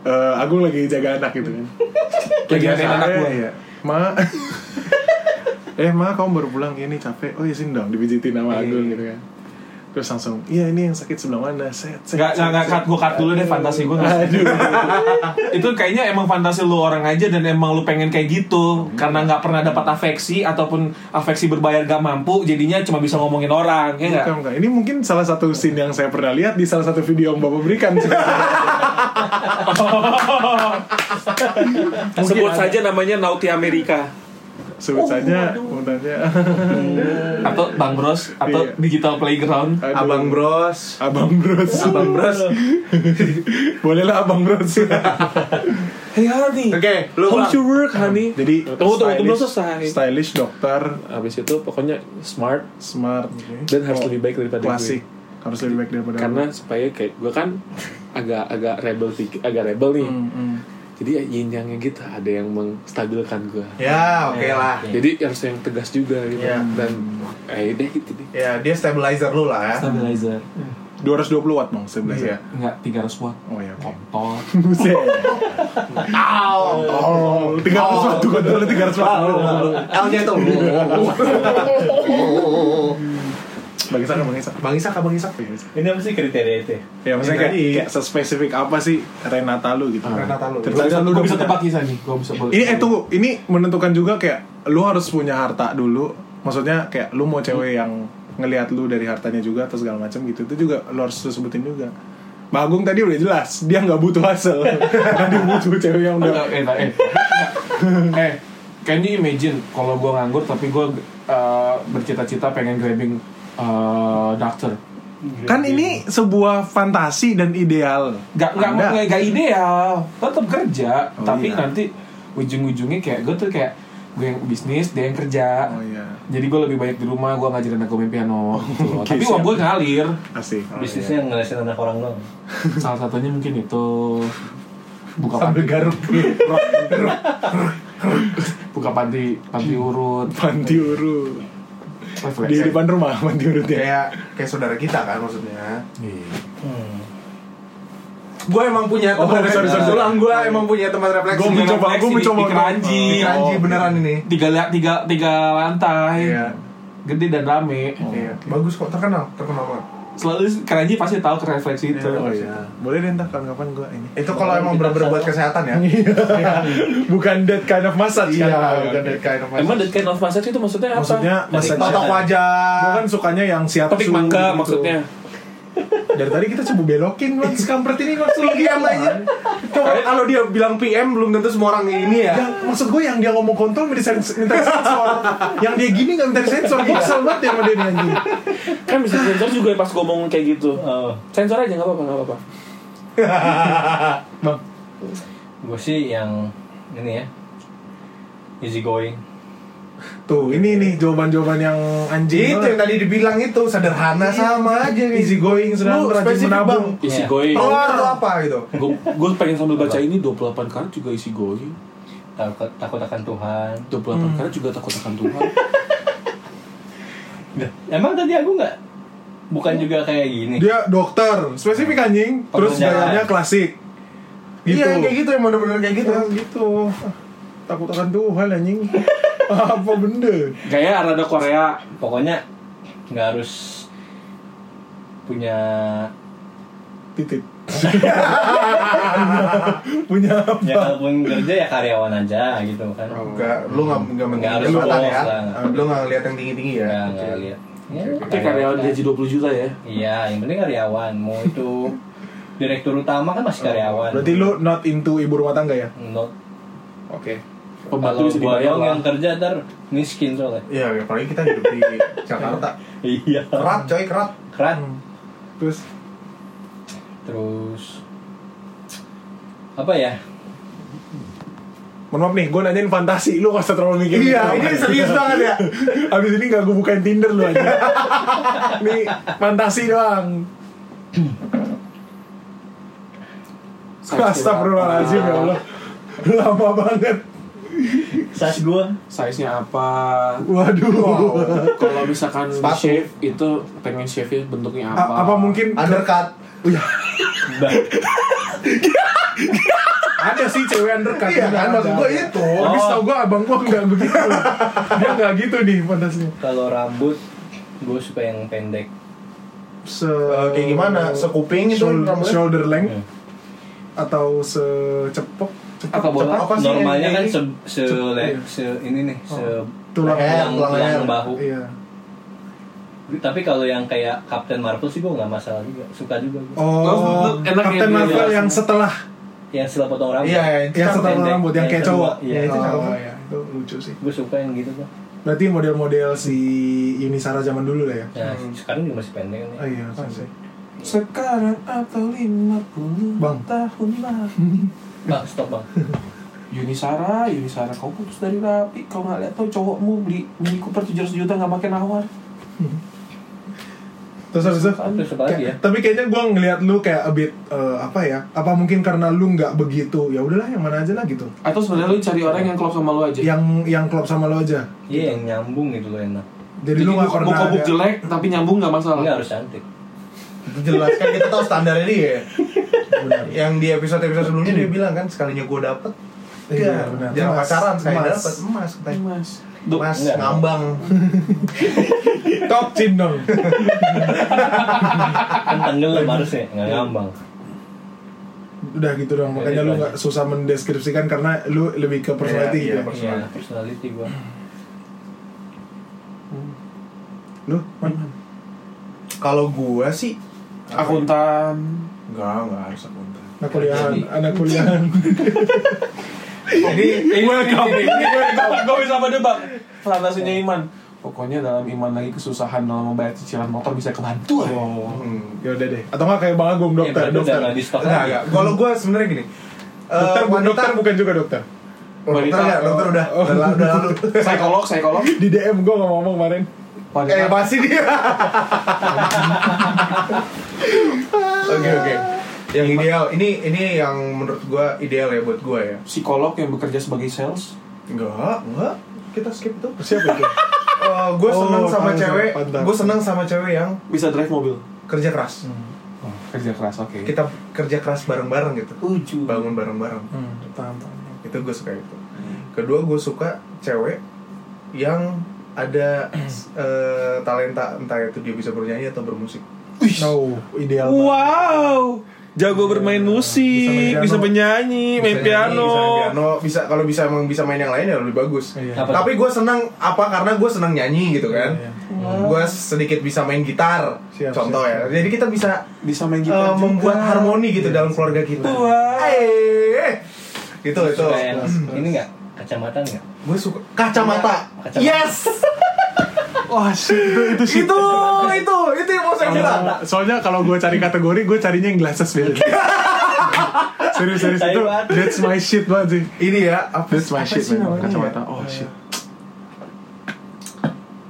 [SPEAKER 4] eh, aku lagi jaga anak gitu kan.
[SPEAKER 6] Lagi ada anak
[SPEAKER 4] Eh,
[SPEAKER 6] gue.
[SPEAKER 4] iya. Ma. eh, Ma, kamu baru pulang ini capek. Oh, ya sini dong dipijitin sama
[SPEAKER 6] Iya,
[SPEAKER 4] Agung gitu kan. Terus langsung, iya ini yang sakit sebelah mana? Set, set.
[SPEAKER 6] Gak, gak, gak, cut, gue cut dulu deh fantasi gue Aduh Itu kayaknya emang fantasi lu orang aja dan emang lu pengen kayak gitu Karena gak pernah dapat afeksi ataupun afeksi berbayar gak mampu Jadinya cuma bisa ngomongin orang,
[SPEAKER 3] Iya.
[SPEAKER 6] ya gak?
[SPEAKER 4] Bukan, bukan. Ini mungkin salah satu scene yang saya pernah lihat di salah satu video yang Bapak berikan.
[SPEAKER 3] Sebut saja namanya Nauti Amerika. Oh,
[SPEAKER 4] Sebut saja, mudahnya.
[SPEAKER 6] Atau Bang Bros, atau
[SPEAKER 4] Iya.
[SPEAKER 6] Digital Playground
[SPEAKER 4] Aduh.
[SPEAKER 5] Abang Bros.
[SPEAKER 4] Abang Bros.
[SPEAKER 5] Abang Bros.
[SPEAKER 4] Bolehlah Abang Bros.
[SPEAKER 3] Hey honey,
[SPEAKER 5] Oke, lu
[SPEAKER 3] how's
[SPEAKER 5] Bang.
[SPEAKER 3] your work honey?
[SPEAKER 4] Jadi
[SPEAKER 3] Tunggu, tunggu, tunggu, belum selesai.
[SPEAKER 4] Stylish dokter,
[SPEAKER 3] Abis itu pokoknya smart
[SPEAKER 4] smart, gitu ya.
[SPEAKER 6] Oh,
[SPEAKER 3] dan harus lebih baik daripada gue.
[SPEAKER 4] klasik. harus lebih baik daripada
[SPEAKER 3] karena supaya kayak gue kan agak agak rebel pikir agak rebel nih
[SPEAKER 6] Hmm,
[SPEAKER 3] jadi ya yin yangnya gitu ada yang menstabilkan gue
[SPEAKER 5] Ya, oke lah.
[SPEAKER 6] Iya.
[SPEAKER 3] jadi harus yang tegas juga gitu
[SPEAKER 5] Iya.
[SPEAKER 3] dan eh deh gitu deh
[SPEAKER 5] Ya, dia stabilizer lu lah ya.
[SPEAKER 6] Stabilizer.
[SPEAKER 4] 220 watt bang sebelah
[SPEAKER 5] Iya.
[SPEAKER 6] Enggak 300 watt.
[SPEAKER 4] Oh ya, oke.
[SPEAKER 6] Tol.
[SPEAKER 4] Buset.
[SPEAKER 5] Oh,
[SPEAKER 4] Tiga ratus watt tuh kontrolnya tiga ratus watt.
[SPEAKER 5] L-nya tuh.
[SPEAKER 6] Iya,
[SPEAKER 4] Bang Isak, Bang Isak.
[SPEAKER 5] Bang Isak, Bang Isak.
[SPEAKER 1] Ini apa sih kriteria itu? ya?
[SPEAKER 4] Ya maksudnya kayak,
[SPEAKER 5] Tadi-
[SPEAKER 4] kayak sespesifik apa sih Renata lu gitu?
[SPEAKER 5] Renata lu.
[SPEAKER 4] Terus lu
[SPEAKER 6] Gue
[SPEAKER 4] udah
[SPEAKER 6] Ah, bisa
[SPEAKER 4] punya-
[SPEAKER 6] tebak kisah nih. Gue bisa
[SPEAKER 4] Ini eh tunggu, ini menentukan juga kayak lu harus punya harta dulu. Maksudnya kayak lu mau cewek yang ngelihat lu dari hartanya juga atau segala macam gitu. Itu juga lu harus sebutin juga. Mbak Agung tadi udah jelas, dia nggak butuh hasil. Dia butuh cewek yang
[SPEAKER 6] Enggak,
[SPEAKER 4] udah
[SPEAKER 6] eh, enggak, eh. eh, can you imagine kalau gue nganggur tapi gue eh, bercita-cita pengen grabbing eh, doctor.
[SPEAKER 4] Kan ini sebuah fantasi dan ideal.
[SPEAKER 6] Gak nggak
[SPEAKER 4] Anda.
[SPEAKER 6] nggak nggak ideal, tetap kerja.
[SPEAKER 4] Oh,
[SPEAKER 6] tapi
[SPEAKER 4] iya.
[SPEAKER 6] nanti ujung-ujungnya kayak gue tuh kayak gue yang bisnis, dia yang kerja.
[SPEAKER 4] Oh iya.
[SPEAKER 6] Jadi gue lebih banyak di rumah, gue ngajarin aku main
[SPEAKER 3] Oh,
[SPEAKER 6] piano gitu loh.
[SPEAKER 4] Oke,
[SPEAKER 6] Tapi uang
[SPEAKER 4] siap.
[SPEAKER 6] gue ngalir
[SPEAKER 4] Asik.
[SPEAKER 1] Bisnisnya ngelesin anak orang doang.
[SPEAKER 6] Salah satunya mungkin itu Buka
[SPEAKER 5] Sambil
[SPEAKER 6] panti,
[SPEAKER 5] garuk.
[SPEAKER 6] buka panti, panti urut
[SPEAKER 4] Panti urut.
[SPEAKER 6] Refleksi.
[SPEAKER 4] Di depan rumah panti urut ya.
[SPEAKER 5] Kayak kayak saudara kita kan maksudnya.
[SPEAKER 6] Iya.
[SPEAKER 1] Hmm.
[SPEAKER 5] Gue emang punya
[SPEAKER 4] Oh, sorry, sorry, sorry.
[SPEAKER 5] Ulang, gue emang punya tempat refleksi.
[SPEAKER 4] Gua
[SPEAKER 5] Tempat
[SPEAKER 4] mencoba,
[SPEAKER 5] refleksi
[SPEAKER 4] gua mencoba.
[SPEAKER 5] di keranji.
[SPEAKER 6] Oh,
[SPEAKER 5] Di keranji
[SPEAKER 4] oke.
[SPEAKER 5] beneran ini.
[SPEAKER 6] tiga la- tiga tiga lantai
[SPEAKER 4] Iya.
[SPEAKER 6] gede dan rame
[SPEAKER 5] Iya. Bagus kok terkenal, terkenal banget.
[SPEAKER 6] selalu keranji pasti tahu ke refleksi itu
[SPEAKER 4] Oh iya. Boleh deh ntar kapan-kapan gue ini.
[SPEAKER 5] Itu kalau emang bener-bener buat kesehatan ya.
[SPEAKER 6] Iya,
[SPEAKER 4] Bukan that kind of massage
[SPEAKER 5] Iya,
[SPEAKER 4] kan?
[SPEAKER 5] bukan dari kain apa.
[SPEAKER 3] emang that kind of massage itu maksudnya apa
[SPEAKER 4] Maksudnya massage
[SPEAKER 5] Totok
[SPEAKER 4] Gue
[SPEAKER 5] wajah.
[SPEAKER 4] kan sukanya yang siapa
[SPEAKER 3] petik mangga
[SPEAKER 4] gitu.
[SPEAKER 3] maksudnya
[SPEAKER 4] Dari tadi kita coba belokin Mas kampret ini langsung lagi
[SPEAKER 5] PM aja. gitu, kan? Coba kalau dia bilang PM belum tentu semua orang ini ya.
[SPEAKER 4] Yang, maksud gue yang dia ngomong kontol minta disens- minta disensor Yang dia gini gak minta disensor Gue kesel banget ya sama dia nih, anjing
[SPEAKER 3] kan bisa sensor juga pas ngomong kayak gitu
[SPEAKER 1] Oh,
[SPEAKER 3] sensor aja nggak apa-apa nggak apa-apa
[SPEAKER 4] Bang
[SPEAKER 1] gue sih yang ini ya easy going.
[SPEAKER 4] Tuh ini nih jawaban-jawaban yang anjing
[SPEAKER 5] Itu yang tadi dibilang itu sederhana sama aja nih.
[SPEAKER 4] Easy going sedang
[SPEAKER 5] Lu
[SPEAKER 4] rajin
[SPEAKER 5] spesifik,
[SPEAKER 4] menabung
[SPEAKER 5] Bang.
[SPEAKER 3] isi
[SPEAKER 1] Iya.
[SPEAKER 3] going
[SPEAKER 5] Keluar tuh apa gitu.
[SPEAKER 3] gue gue pengen sambil baca ini 28 karat juga isi going
[SPEAKER 1] Takut, takut akan Tuhan.
[SPEAKER 3] 28 karat juga takut akan Tuhan
[SPEAKER 1] Emang tadi aku nggak bukan juga kayak gini.
[SPEAKER 4] Dia dokter Spesifik anjing Terus
[SPEAKER 1] Pekerjaan.
[SPEAKER 4] gayanya klasik Gitu
[SPEAKER 5] Iya yang kayak gitu yang bener-bener kayak gitu.
[SPEAKER 4] Ya, gitu Takut akan Tuhan anjing Apa benda
[SPEAKER 6] kayak rada Korea
[SPEAKER 1] Pokoknya nggak harus punya
[SPEAKER 4] titik punya
[SPEAKER 1] ya kalaupun kerja ya karyawan aja gitu kan.
[SPEAKER 5] Enggak, lu nggak nggak
[SPEAKER 1] Nggak
[SPEAKER 5] mengeliat
[SPEAKER 1] harus
[SPEAKER 5] jabatan
[SPEAKER 1] bohong
[SPEAKER 5] ya.
[SPEAKER 1] lah.
[SPEAKER 5] Lu nggak ngeliat yang tinggi-tinggi ya.
[SPEAKER 1] Nggak Iya, nggak lihat. Ya,
[SPEAKER 3] Oke karyawan
[SPEAKER 1] aja.
[SPEAKER 3] gaji 20 juta ya
[SPEAKER 1] Iya, yang penting karyawan. Mau itu direktur utama kan
[SPEAKER 3] Oh,
[SPEAKER 1] masih karyawan.
[SPEAKER 4] berarti lu not into ibu rumah tangga ya
[SPEAKER 1] Not-
[SPEAKER 4] oke
[SPEAKER 3] Pembantu
[SPEAKER 1] kalau
[SPEAKER 3] bisa
[SPEAKER 1] gua
[SPEAKER 3] dibayar
[SPEAKER 1] doang
[SPEAKER 3] lah
[SPEAKER 1] yang kerja ntar miskin soalnya.
[SPEAKER 5] Iya, apalagi kita hidup di Jakarta.
[SPEAKER 1] Iya.
[SPEAKER 5] Kerat coy, kerat. Hmm.
[SPEAKER 1] Kerat.
[SPEAKER 4] terus
[SPEAKER 1] Terus apa ya?
[SPEAKER 4] mohon maaf nih gue nanyain fantasi lu gak usah terlalu mikir
[SPEAKER 5] Iya, ini serius banget ya.
[SPEAKER 4] abis ini gak gue bukain tinder lu aja ini fantasi doang Astagfirullahaladzim ya Allah Lama banget
[SPEAKER 1] Sas gua.
[SPEAKER 6] size nya apa
[SPEAKER 4] Waduh
[SPEAKER 6] kalau misalkan di
[SPEAKER 5] Sepatu.
[SPEAKER 6] shave itu pengen shave nya bentuknya apa
[SPEAKER 4] A- Apa mungkin
[SPEAKER 5] Undercut.
[SPEAKER 4] ada sih cewek undercut
[SPEAKER 5] Iya kan, maksud
[SPEAKER 4] Ada.
[SPEAKER 5] gua itu.
[SPEAKER 4] Tapi setahu gue abang gue nggak begitu Dia nggak gitu nih fantasinya
[SPEAKER 1] Kalau rambut gua suka yang pendek.
[SPEAKER 4] se
[SPEAKER 5] Eh, Kayak gimana? Sekuping itu
[SPEAKER 4] Shoul- shoulder,
[SPEAKER 5] rambutnya?
[SPEAKER 4] length
[SPEAKER 1] Hmm.
[SPEAKER 4] atau secepok cepok
[SPEAKER 6] Apa bola?
[SPEAKER 4] cepok apa sih
[SPEAKER 1] Normalnya
[SPEAKER 4] yang-
[SPEAKER 1] kan se,
[SPEAKER 4] yang-
[SPEAKER 1] se,
[SPEAKER 4] Iya.
[SPEAKER 1] se- ini nih, se
[SPEAKER 4] tulang
[SPEAKER 5] leher,
[SPEAKER 1] tulang,
[SPEAKER 5] tulang leher.
[SPEAKER 1] tulang bahu.
[SPEAKER 4] iya
[SPEAKER 1] Tapi kalau yang kayak Captain Marvel sih gua nggak masalah juga, suka juga. Gua.
[SPEAKER 6] Terus,
[SPEAKER 4] oh
[SPEAKER 6] enak
[SPEAKER 4] Captain
[SPEAKER 6] ya,
[SPEAKER 4] Marvel
[SPEAKER 6] dia-
[SPEAKER 4] yang setelah
[SPEAKER 1] Yang setelah potong rambut.
[SPEAKER 5] Iya, iya, itu
[SPEAKER 4] yang
[SPEAKER 5] kan
[SPEAKER 4] setelah
[SPEAKER 1] pendek.
[SPEAKER 4] rambut yang
[SPEAKER 1] Yang
[SPEAKER 4] kayak
[SPEAKER 1] kedua,
[SPEAKER 4] cowok
[SPEAKER 1] iya,
[SPEAKER 4] itu
[SPEAKER 5] itu cakep.
[SPEAKER 4] ya itu lucu sih
[SPEAKER 1] Gua suka yang gitu kan.
[SPEAKER 4] berarti model-model si Unisara zaman dulu lah ya
[SPEAKER 1] Nah, sekarang juga masih pendek kan.
[SPEAKER 4] oh,
[SPEAKER 1] Ya.
[SPEAKER 4] iya kan sih
[SPEAKER 6] sekarang atau 50
[SPEAKER 4] Bang.
[SPEAKER 6] tahun lah
[SPEAKER 1] Bang, stop bang.
[SPEAKER 6] Yunisara, Yunisara kau putus dari Rapi Kau nggak lihat tuh cowokmu beli Mini Cooper 700 juta nggak pakai nawar
[SPEAKER 4] Terus habis itu
[SPEAKER 1] Terus apa lagi ya?
[SPEAKER 4] tapi kayaknya gue ngelihat lu kayak a bit eh, apa ya? Apa mungkin karena lu nggak begitu? Ya udahlah yang mana aja lah gitu.
[SPEAKER 3] Atau sebenarnya lu cari orang yang klop sama lu aja.
[SPEAKER 4] Yang yang klop sama lu aja.
[SPEAKER 1] Iya yang nyambung gitu loh enak.
[SPEAKER 4] Jadi, lu nggak pernah
[SPEAKER 3] muka buk
[SPEAKER 4] ada-
[SPEAKER 3] jelek tapi nyambung nggak
[SPEAKER 6] Oh.
[SPEAKER 3] masalah.
[SPEAKER 1] Enggak harus cantik.
[SPEAKER 5] jelas kan kita tahu standarnya dia yang di episode episode sebelumnya dia bilang kan sekalinya gue dapet
[SPEAKER 4] Iya,
[SPEAKER 5] gar.
[SPEAKER 4] benar.
[SPEAKER 5] jangan
[SPEAKER 4] Emas.
[SPEAKER 5] pacaran saya
[SPEAKER 4] Emas.
[SPEAKER 5] dapet emas katanya.
[SPEAKER 3] Mas. Duh,
[SPEAKER 5] emas
[SPEAKER 1] enggak.
[SPEAKER 5] ngambang
[SPEAKER 4] Top chin dong.
[SPEAKER 1] Kan
[SPEAKER 4] Iya.
[SPEAKER 1] tenggelam harusnya, enggak ngambang.
[SPEAKER 4] Udah gitu dong. Makanya lu nggak susah mendeskripsikan karena lu lebih ke personality
[SPEAKER 5] Iya,
[SPEAKER 4] gitu.
[SPEAKER 5] iya,
[SPEAKER 4] ya.
[SPEAKER 1] Iya, personality gua.
[SPEAKER 4] Lu Man?
[SPEAKER 5] kalau gue sih
[SPEAKER 3] akuntan.
[SPEAKER 5] enggak enggak harus akuntan
[SPEAKER 4] anak kuliahan, anak kuliahan.
[SPEAKER 5] jadi
[SPEAKER 3] Welcome. Gue bisa berdebak. Fantasinya Iman. Pokoknya dalam Iman lagi kesusahan dalam membayar cicilan motor bisa kebantu.
[SPEAKER 4] Oh. Ya udah deh. Atau nggak kayak Bang Agung
[SPEAKER 1] Ya,
[SPEAKER 4] Ah, dokter, Iya,
[SPEAKER 1] berarti
[SPEAKER 4] dokter.
[SPEAKER 1] udah nggak di stok
[SPEAKER 5] enggak
[SPEAKER 1] lagi.
[SPEAKER 5] enggak kalau gue sebenarnya gini eh,
[SPEAKER 4] Dokter, bu-
[SPEAKER 5] wanita-
[SPEAKER 4] dokter bukan juga dokter.
[SPEAKER 5] Oh, dokter
[SPEAKER 3] wanita.
[SPEAKER 5] ya, dokter udah, udah, la- udah lalu.
[SPEAKER 3] Psikolog, psikolog.
[SPEAKER 4] Di DM gue ngomong kemarin.
[SPEAKER 5] Eh, pasti dia. Oke, oke. Yang ideal, ini ini yang menurut gua ideal ya buat gua ya.
[SPEAKER 3] Psikolog yang bekerja sebagai sales.
[SPEAKER 5] Enggak, enggak. Kita skip itu.
[SPEAKER 4] Siapa itu?
[SPEAKER 5] Eh, gua
[SPEAKER 4] Oh,
[SPEAKER 5] senang sama
[SPEAKER 4] pantas,
[SPEAKER 5] cewek,
[SPEAKER 4] pantas.
[SPEAKER 5] gua senang sama cewek yang
[SPEAKER 3] Bisa drive mobil.
[SPEAKER 5] kerja keras.
[SPEAKER 3] Oh, kerja keras, oke.
[SPEAKER 5] Kita kerja keras bareng-bareng gitu.
[SPEAKER 3] Uju.
[SPEAKER 5] Bangun bareng-bareng.
[SPEAKER 4] Hmm, paham, paham.
[SPEAKER 5] Itu gua suka itu. Kedua gua suka cewek yang ada eh, talenta entah itu dia bisa bernyanyi atau bermusik.
[SPEAKER 4] No, ideal. banget.
[SPEAKER 6] Wow, jago bermain musik,
[SPEAKER 4] Bisa
[SPEAKER 6] bisa
[SPEAKER 4] main
[SPEAKER 6] menyanyi, main
[SPEAKER 5] Bisa nyanyi, bisa
[SPEAKER 6] piano.
[SPEAKER 5] main piano bisa kalau bisa emang bisa main yang lain ya lebih bagus
[SPEAKER 4] Iya.
[SPEAKER 1] Apa?
[SPEAKER 5] tapi gue senang apa karena gue senang nyanyi gitu kan
[SPEAKER 4] Iya,
[SPEAKER 5] gue sedikit bisa main gitar
[SPEAKER 4] Siap,
[SPEAKER 5] contoh
[SPEAKER 4] siap,
[SPEAKER 5] ya jadi kita bisa
[SPEAKER 3] Bisa main
[SPEAKER 5] eh,
[SPEAKER 3] gitar juga.
[SPEAKER 5] membuat harmoni gitu
[SPEAKER 4] Iya.
[SPEAKER 5] dalam keluarga kita Eh, itu itu
[SPEAKER 1] Suka yang ini enggak? Kacamata enggak?
[SPEAKER 5] gue suka kacamata
[SPEAKER 1] Kacamata.
[SPEAKER 5] yes
[SPEAKER 4] Wah, shit, itu itu shit.
[SPEAKER 5] itu itu itu yang mau saya bilang
[SPEAKER 4] Soalnya kalau gue cari kategori, gue carinya yang glasses biasanya. serius, serius itu
[SPEAKER 1] Tai banget.
[SPEAKER 4] that's my shit banget sih.
[SPEAKER 5] ini ya apa
[SPEAKER 4] That's my
[SPEAKER 5] apa
[SPEAKER 4] shit,
[SPEAKER 5] sih
[SPEAKER 4] man.
[SPEAKER 5] namanya
[SPEAKER 4] Kacamata.
[SPEAKER 5] ya?
[SPEAKER 4] Oh shit.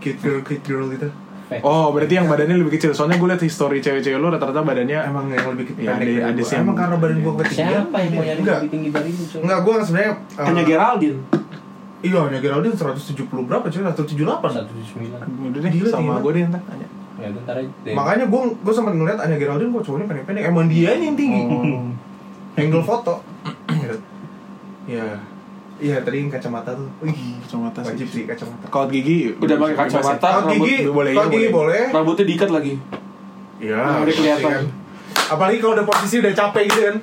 [SPEAKER 5] Kid girl, kid girl gitu
[SPEAKER 4] Oh, berarti yang badannya lebih kecil. Soalnya gue liat history cewek-cewek lu rata-rata badannya
[SPEAKER 5] emang yang lebih
[SPEAKER 4] Iya,
[SPEAKER 5] pendek
[SPEAKER 4] ada-
[SPEAKER 5] dari
[SPEAKER 4] ada
[SPEAKER 5] gua.
[SPEAKER 4] sih yang-
[SPEAKER 5] emang karena badan gue ketinggian
[SPEAKER 1] Siapa yang mau nyari
[SPEAKER 5] Enggak.
[SPEAKER 1] lebih tinggi dari lu? Cok?
[SPEAKER 5] Enggak, gue sebenarnya eh,
[SPEAKER 3] Hanya Geraldine.
[SPEAKER 5] Iya, hanya Geraldine 170 berapa cuy?
[SPEAKER 1] Iya.
[SPEAKER 5] 178
[SPEAKER 1] 179.
[SPEAKER 4] udah deh
[SPEAKER 5] Gila,
[SPEAKER 4] sama
[SPEAKER 5] gila. Iya,
[SPEAKER 4] gue deh ntar tanya.
[SPEAKER 1] Ya bentar aja. deh.
[SPEAKER 5] Makanya gue gue sempat ngeliat Anya Geraldine kok cowoknya pendek-pendek. Emang dia ini yang tinggi. Angle foto. Iya. Iya, tadi yang kacamata tuh. Wih,
[SPEAKER 4] Kacamata sih.
[SPEAKER 5] wajib sih kacamata.
[SPEAKER 4] Kalau gigi
[SPEAKER 3] Udah pakai
[SPEAKER 4] bebas ya.
[SPEAKER 3] kacamata,
[SPEAKER 5] Kalau
[SPEAKER 3] rambut
[SPEAKER 5] gigi,
[SPEAKER 4] boleh,
[SPEAKER 5] kalau
[SPEAKER 4] iya,
[SPEAKER 5] gigi boleh.
[SPEAKER 3] Rambutnya diikat lagi.
[SPEAKER 5] Iya.
[SPEAKER 3] Nah, udah kelihatan.
[SPEAKER 5] pasti kan. Apalagi kalau udah posisi udah capek gitu kan.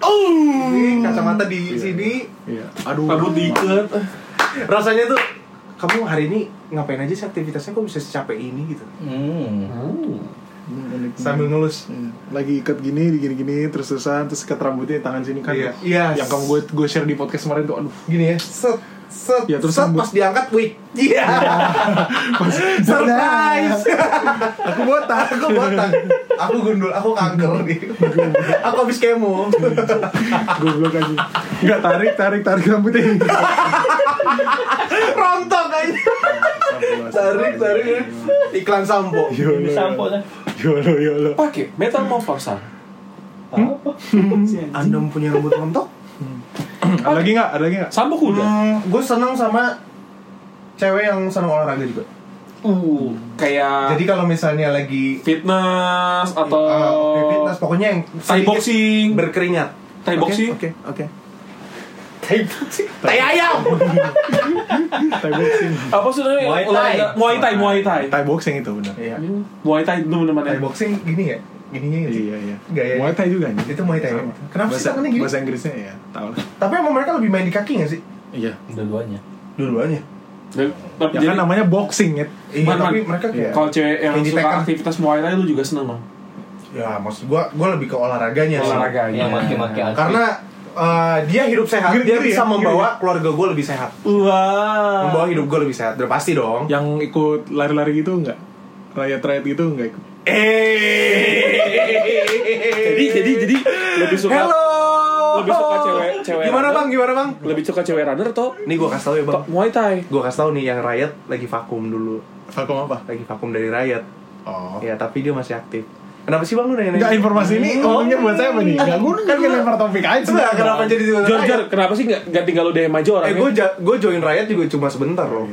[SPEAKER 5] Oh, Ini kacamata di sini.
[SPEAKER 4] Iya. Aduh.
[SPEAKER 3] Rambut diikat.
[SPEAKER 5] Rasanya tuh kamu hari ini ngapain aja sih aktivitasnya kok bisa secapek ini gitu
[SPEAKER 1] Hmm.
[SPEAKER 5] sambil ngelus
[SPEAKER 4] Iya. lagi ikat gini gini-gini terus terusan terus ikat rambutnya tangan sini kan
[SPEAKER 5] Iya. Yes.
[SPEAKER 4] yang kamu gue gue share di podcast kemarin tuh aduh
[SPEAKER 5] gini ya set set
[SPEAKER 4] Ya, terus
[SPEAKER 5] set
[SPEAKER 4] rambut.
[SPEAKER 5] pas diangkat wih iya surprise aku botak aku botak aku gundul aku kanker gitu aku habis kemo
[SPEAKER 4] goblok aja nggak tarik tarik tarik rambutnya
[SPEAKER 5] rontok aja tarik tarik ya. iklan sampo
[SPEAKER 4] Yolo,
[SPEAKER 1] Ini sampo
[SPEAKER 4] yolo.
[SPEAKER 1] lah.
[SPEAKER 4] yolo yolo
[SPEAKER 3] Pakai metal morfosan.
[SPEAKER 1] Apa?
[SPEAKER 5] anda punya rambut rontok
[SPEAKER 4] Hmm. ada lagi nggak ada lagi nggak
[SPEAKER 3] Sampo kuda.
[SPEAKER 5] gue seneng sama cewek yang seneng olahraga juga
[SPEAKER 3] Uh, kayak
[SPEAKER 5] jadi kalau misalnya lagi
[SPEAKER 3] fitness atau
[SPEAKER 5] uh, oke, fitness pokoknya yang
[SPEAKER 3] Oh. Thai
[SPEAKER 5] sedikit
[SPEAKER 3] boxing.
[SPEAKER 5] berkeringat
[SPEAKER 3] Thai boxing.
[SPEAKER 4] oke oke
[SPEAKER 5] tai tai ayam
[SPEAKER 4] Thai boxing
[SPEAKER 3] Apa sih namanya?
[SPEAKER 1] Muay Thai.
[SPEAKER 3] Olahraga- Muay Thai, Muay Thai.
[SPEAKER 4] Thai boxing itu benar
[SPEAKER 5] iya
[SPEAKER 3] Muay Thai itu
[SPEAKER 5] Thai
[SPEAKER 3] teman-teman.
[SPEAKER 5] boxing gini ya? Gininya gitu.
[SPEAKER 4] iya iya
[SPEAKER 5] Gaya.
[SPEAKER 4] Muay Thai juga nih
[SPEAKER 5] Itu Muay Thai. Kenapa sih
[SPEAKER 4] bahasa,
[SPEAKER 5] tangannya gini?
[SPEAKER 4] bahasa Inggrisnya ya tahu lah
[SPEAKER 5] Tapi emang mereka lebih main di kaki gak sih?
[SPEAKER 4] iya
[SPEAKER 1] Dua-duanya.
[SPEAKER 5] Dua-duanya.
[SPEAKER 3] Dan- tapi
[SPEAKER 4] ya
[SPEAKER 3] Jadi
[SPEAKER 4] kan namanya boxing ya
[SPEAKER 5] Iya,
[SPEAKER 3] Man,
[SPEAKER 5] tapi
[SPEAKER 3] man.
[SPEAKER 5] mereka kayak
[SPEAKER 3] kalau cewek yang
[SPEAKER 5] Kayak di
[SPEAKER 3] suka
[SPEAKER 5] Tekken.
[SPEAKER 3] aktivitas Muay Thai lu juga seneng dong.
[SPEAKER 5] ya maksud gua gua lebih ke olahraganya sih.
[SPEAKER 1] Yang maki-maki outfit.
[SPEAKER 5] Karena eh, dia hidup sehat,
[SPEAKER 4] Gini-
[SPEAKER 5] dia
[SPEAKER 4] gini
[SPEAKER 5] bisa
[SPEAKER 4] ya,
[SPEAKER 5] membawa keluarga gua lebih sehat.
[SPEAKER 4] wah
[SPEAKER 5] Membawa hidup gua lebih sehat. Udah pasti dong.
[SPEAKER 4] yang ikut lari-lari gitu nggak riot-riot gitu nggak ikut
[SPEAKER 3] Jadi jadi jadi lebih suka
[SPEAKER 5] Eh. Hello.
[SPEAKER 3] lebih suka cewek- cewek
[SPEAKER 5] Gimana
[SPEAKER 3] runner.
[SPEAKER 5] Bang? Gimana Bang?
[SPEAKER 3] lebih suka cewek runner atau
[SPEAKER 5] Nih gua kasih tau ya, Bang.
[SPEAKER 3] Muay Thai.
[SPEAKER 5] Gua kasih tau nih yang Riot lagi vakum dulu.
[SPEAKER 4] vakum apa
[SPEAKER 5] Lagi vakum dari Riot. Oh. Ya, tapi dia masih aktif. Kenapa sih bang lu nanya-nanya?
[SPEAKER 4] Enggak informasi ini untungnya buat saya apa nih? Enggak guna kan kita lempar topik aja.
[SPEAKER 5] Enggak, kenapa jadi tiba-tiba
[SPEAKER 3] Jor,
[SPEAKER 5] rakyat?
[SPEAKER 3] Jor, kenapa sih nggak nggak tinggal lo DM aja
[SPEAKER 5] Eh,
[SPEAKER 3] orangnya?
[SPEAKER 5] gue ja- gue join rakyat juga cuma sebentar loh.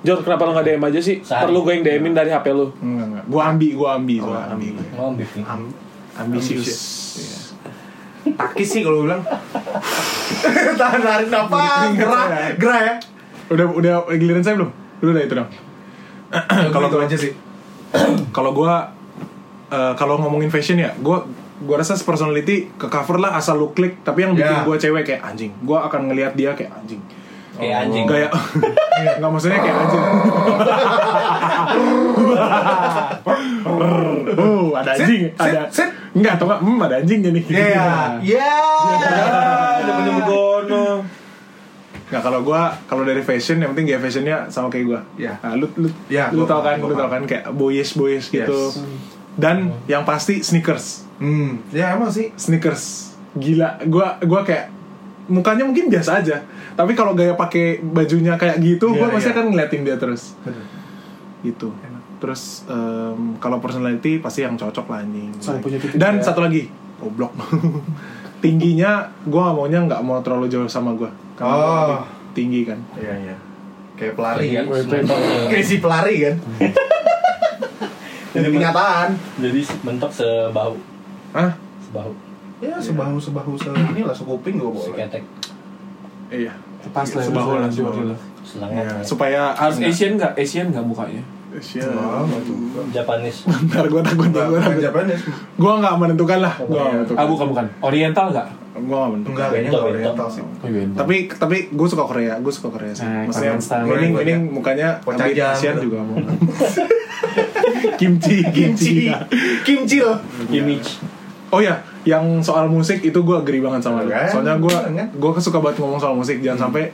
[SPEAKER 3] Jor, kenapa lo nggak DM aja sih?
[SPEAKER 1] Sehari.
[SPEAKER 3] Perlu gue yang DM-in dari HP lo.
[SPEAKER 4] Enggak, enggak. Gua ambi, gua ambi, gua ambi.
[SPEAKER 1] Ngomong bikin.
[SPEAKER 4] Am- ambisius. Iya.
[SPEAKER 5] Takis sih kalau gue bilang. Tahan narik nafas, Ah, gerah, gerah ya.
[SPEAKER 4] Udah udah giliran saya belum? Udah udah itu dong.
[SPEAKER 5] Kalau
[SPEAKER 4] Kalau
[SPEAKER 5] itu
[SPEAKER 4] gua
[SPEAKER 5] aja sih.
[SPEAKER 4] kalau gua eh, kalau ngomongin fashion ya, gua gua rasa personality ke cover lah asal lu klik, tapi yang bikin
[SPEAKER 5] Ya.
[SPEAKER 4] gua cewek kayak anjing. Gua akan ngelihat dia kayak anjing.
[SPEAKER 1] Kayak Eh, anjing.
[SPEAKER 4] Gaya Oh. Iya, nggak maksudnya kayak anjing. oh, ada anjing,
[SPEAKER 5] sit,
[SPEAKER 4] ada.
[SPEAKER 5] sit.
[SPEAKER 4] Enggak, atau enggak, hmm, ada anjingnya nih.
[SPEAKER 5] Iya. Iya.
[SPEAKER 4] Nah kalau gue kalau dari fashion yang penting gaya fashionnya sama kayak gue.
[SPEAKER 5] Ya.
[SPEAKER 4] Nah, lu lu,
[SPEAKER 5] Ya,
[SPEAKER 4] lu
[SPEAKER 5] gua
[SPEAKER 4] tau kan,
[SPEAKER 5] paham,
[SPEAKER 4] lu
[SPEAKER 5] gua
[SPEAKER 4] tau kan kayak boyish boyish
[SPEAKER 5] Yes.
[SPEAKER 4] gitu. Dan yang pasti sneakers,
[SPEAKER 5] Hmm, ya emang sih.
[SPEAKER 4] sneakers gila. Gue gua kayak mukanya mungkin biasa aja, tapi kalau gaya pakai bajunya kayak gitu,
[SPEAKER 5] Iya,
[SPEAKER 4] gue pasti
[SPEAKER 5] iya.
[SPEAKER 4] akan ngeliatin dia terus. Gitu. Terus em, kalau personality pasti yang cocok lah anjing.
[SPEAKER 3] Sama punya titik
[SPEAKER 4] Dan
[SPEAKER 3] ya.
[SPEAKER 4] satu lagi, goblok. Tingginya gue maunya nggak mau terlalu jauh sama gue.
[SPEAKER 5] Oh.
[SPEAKER 4] Kalau tinggi kan.
[SPEAKER 5] Iya, iya. Kayak pelari
[SPEAKER 1] Iya,
[SPEAKER 5] kan.
[SPEAKER 1] mentok se-
[SPEAKER 5] Kayak si pelari kan. Jadi kenyataan.
[SPEAKER 1] Jadi mentok sebahu,
[SPEAKER 4] Hah?
[SPEAKER 1] sebahu,
[SPEAKER 5] Ya sebahu sebahu se inilah sekuping gue boleh.
[SPEAKER 1] seketek,
[SPEAKER 4] Iya.
[SPEAKER 3] Pas lah.
[SPEAKER 4] Sebahu lah,
[SPEAKER 3] Jor.
[SPEAKER 4] sebahu lah.
[SPEAKER 1] selengan,
[SPEAKER 4] Iya, supaya
[SPEAKER 3] Harus Asian nggak? Asian nggak ya? mukanya?
[SPEAKER 4] Asia.
[SPEAKER 5] Oh, gitu.
[SPEAKER 1] Japanese.
[SPEAKER 4] Ntar gue takut,
[SPEAKER 5] Enggak,
[SPEAKER 4] gue
[SPEAKER 5] bukan
[SPEAKER 4] takut.
[SPEAKER 5] Japanese.
[SPEAKER 4] Gue nggak menentukan lah. Gue nggak menentukan.
[SPEAKER 3] Ah bukan bukan. Oriental nggak?
[SPEAKER 4] Gue nggak menentukan.
[SPEAKER 5] Enggak, kayaknya enggak
[SPEAKER 1] Bentuk,
[SPEAKER 5] oriental
[SPEAKER 1] bentuk.
[SPEAKER 5] sih.
[SPEAKER 3] Oh, iya,
[SPEAKER 4] Tapi tapi gue suka Korea, gue suka Ah, Korea sih.
[SPEAKER 3] Nah,
[SPEAKER 4] Maksudnya
[SPEAKER 3] Korean style.
[SPEAKER 4] mending
[SPEAKER 5] Korean
[SPEAKER 4] mending
[SPEAKER 5] banyak.
[SPEAKER 4] mukanya
[SPEAKER 5] Kocajang
[SPEAKER 4] ambil Asian
[SPEAKER 5] gitu.
[SPEAKER 4] juga mau. kimchi, kimchi.
[SPEAKER 5] Iya. Kimchi loh.
[SPEAKER 1] Image.
[SPEAKER 4] Oh ya, yang soal musik itu gue agree banget sama lu.
[SPEAKER 5] Kan?
[SPEAKER 4] Soalnya gue
[SPEAKER 5] Kan?
[SPEAKER 4] gue suka banget ngomong soal musik, jangan sampai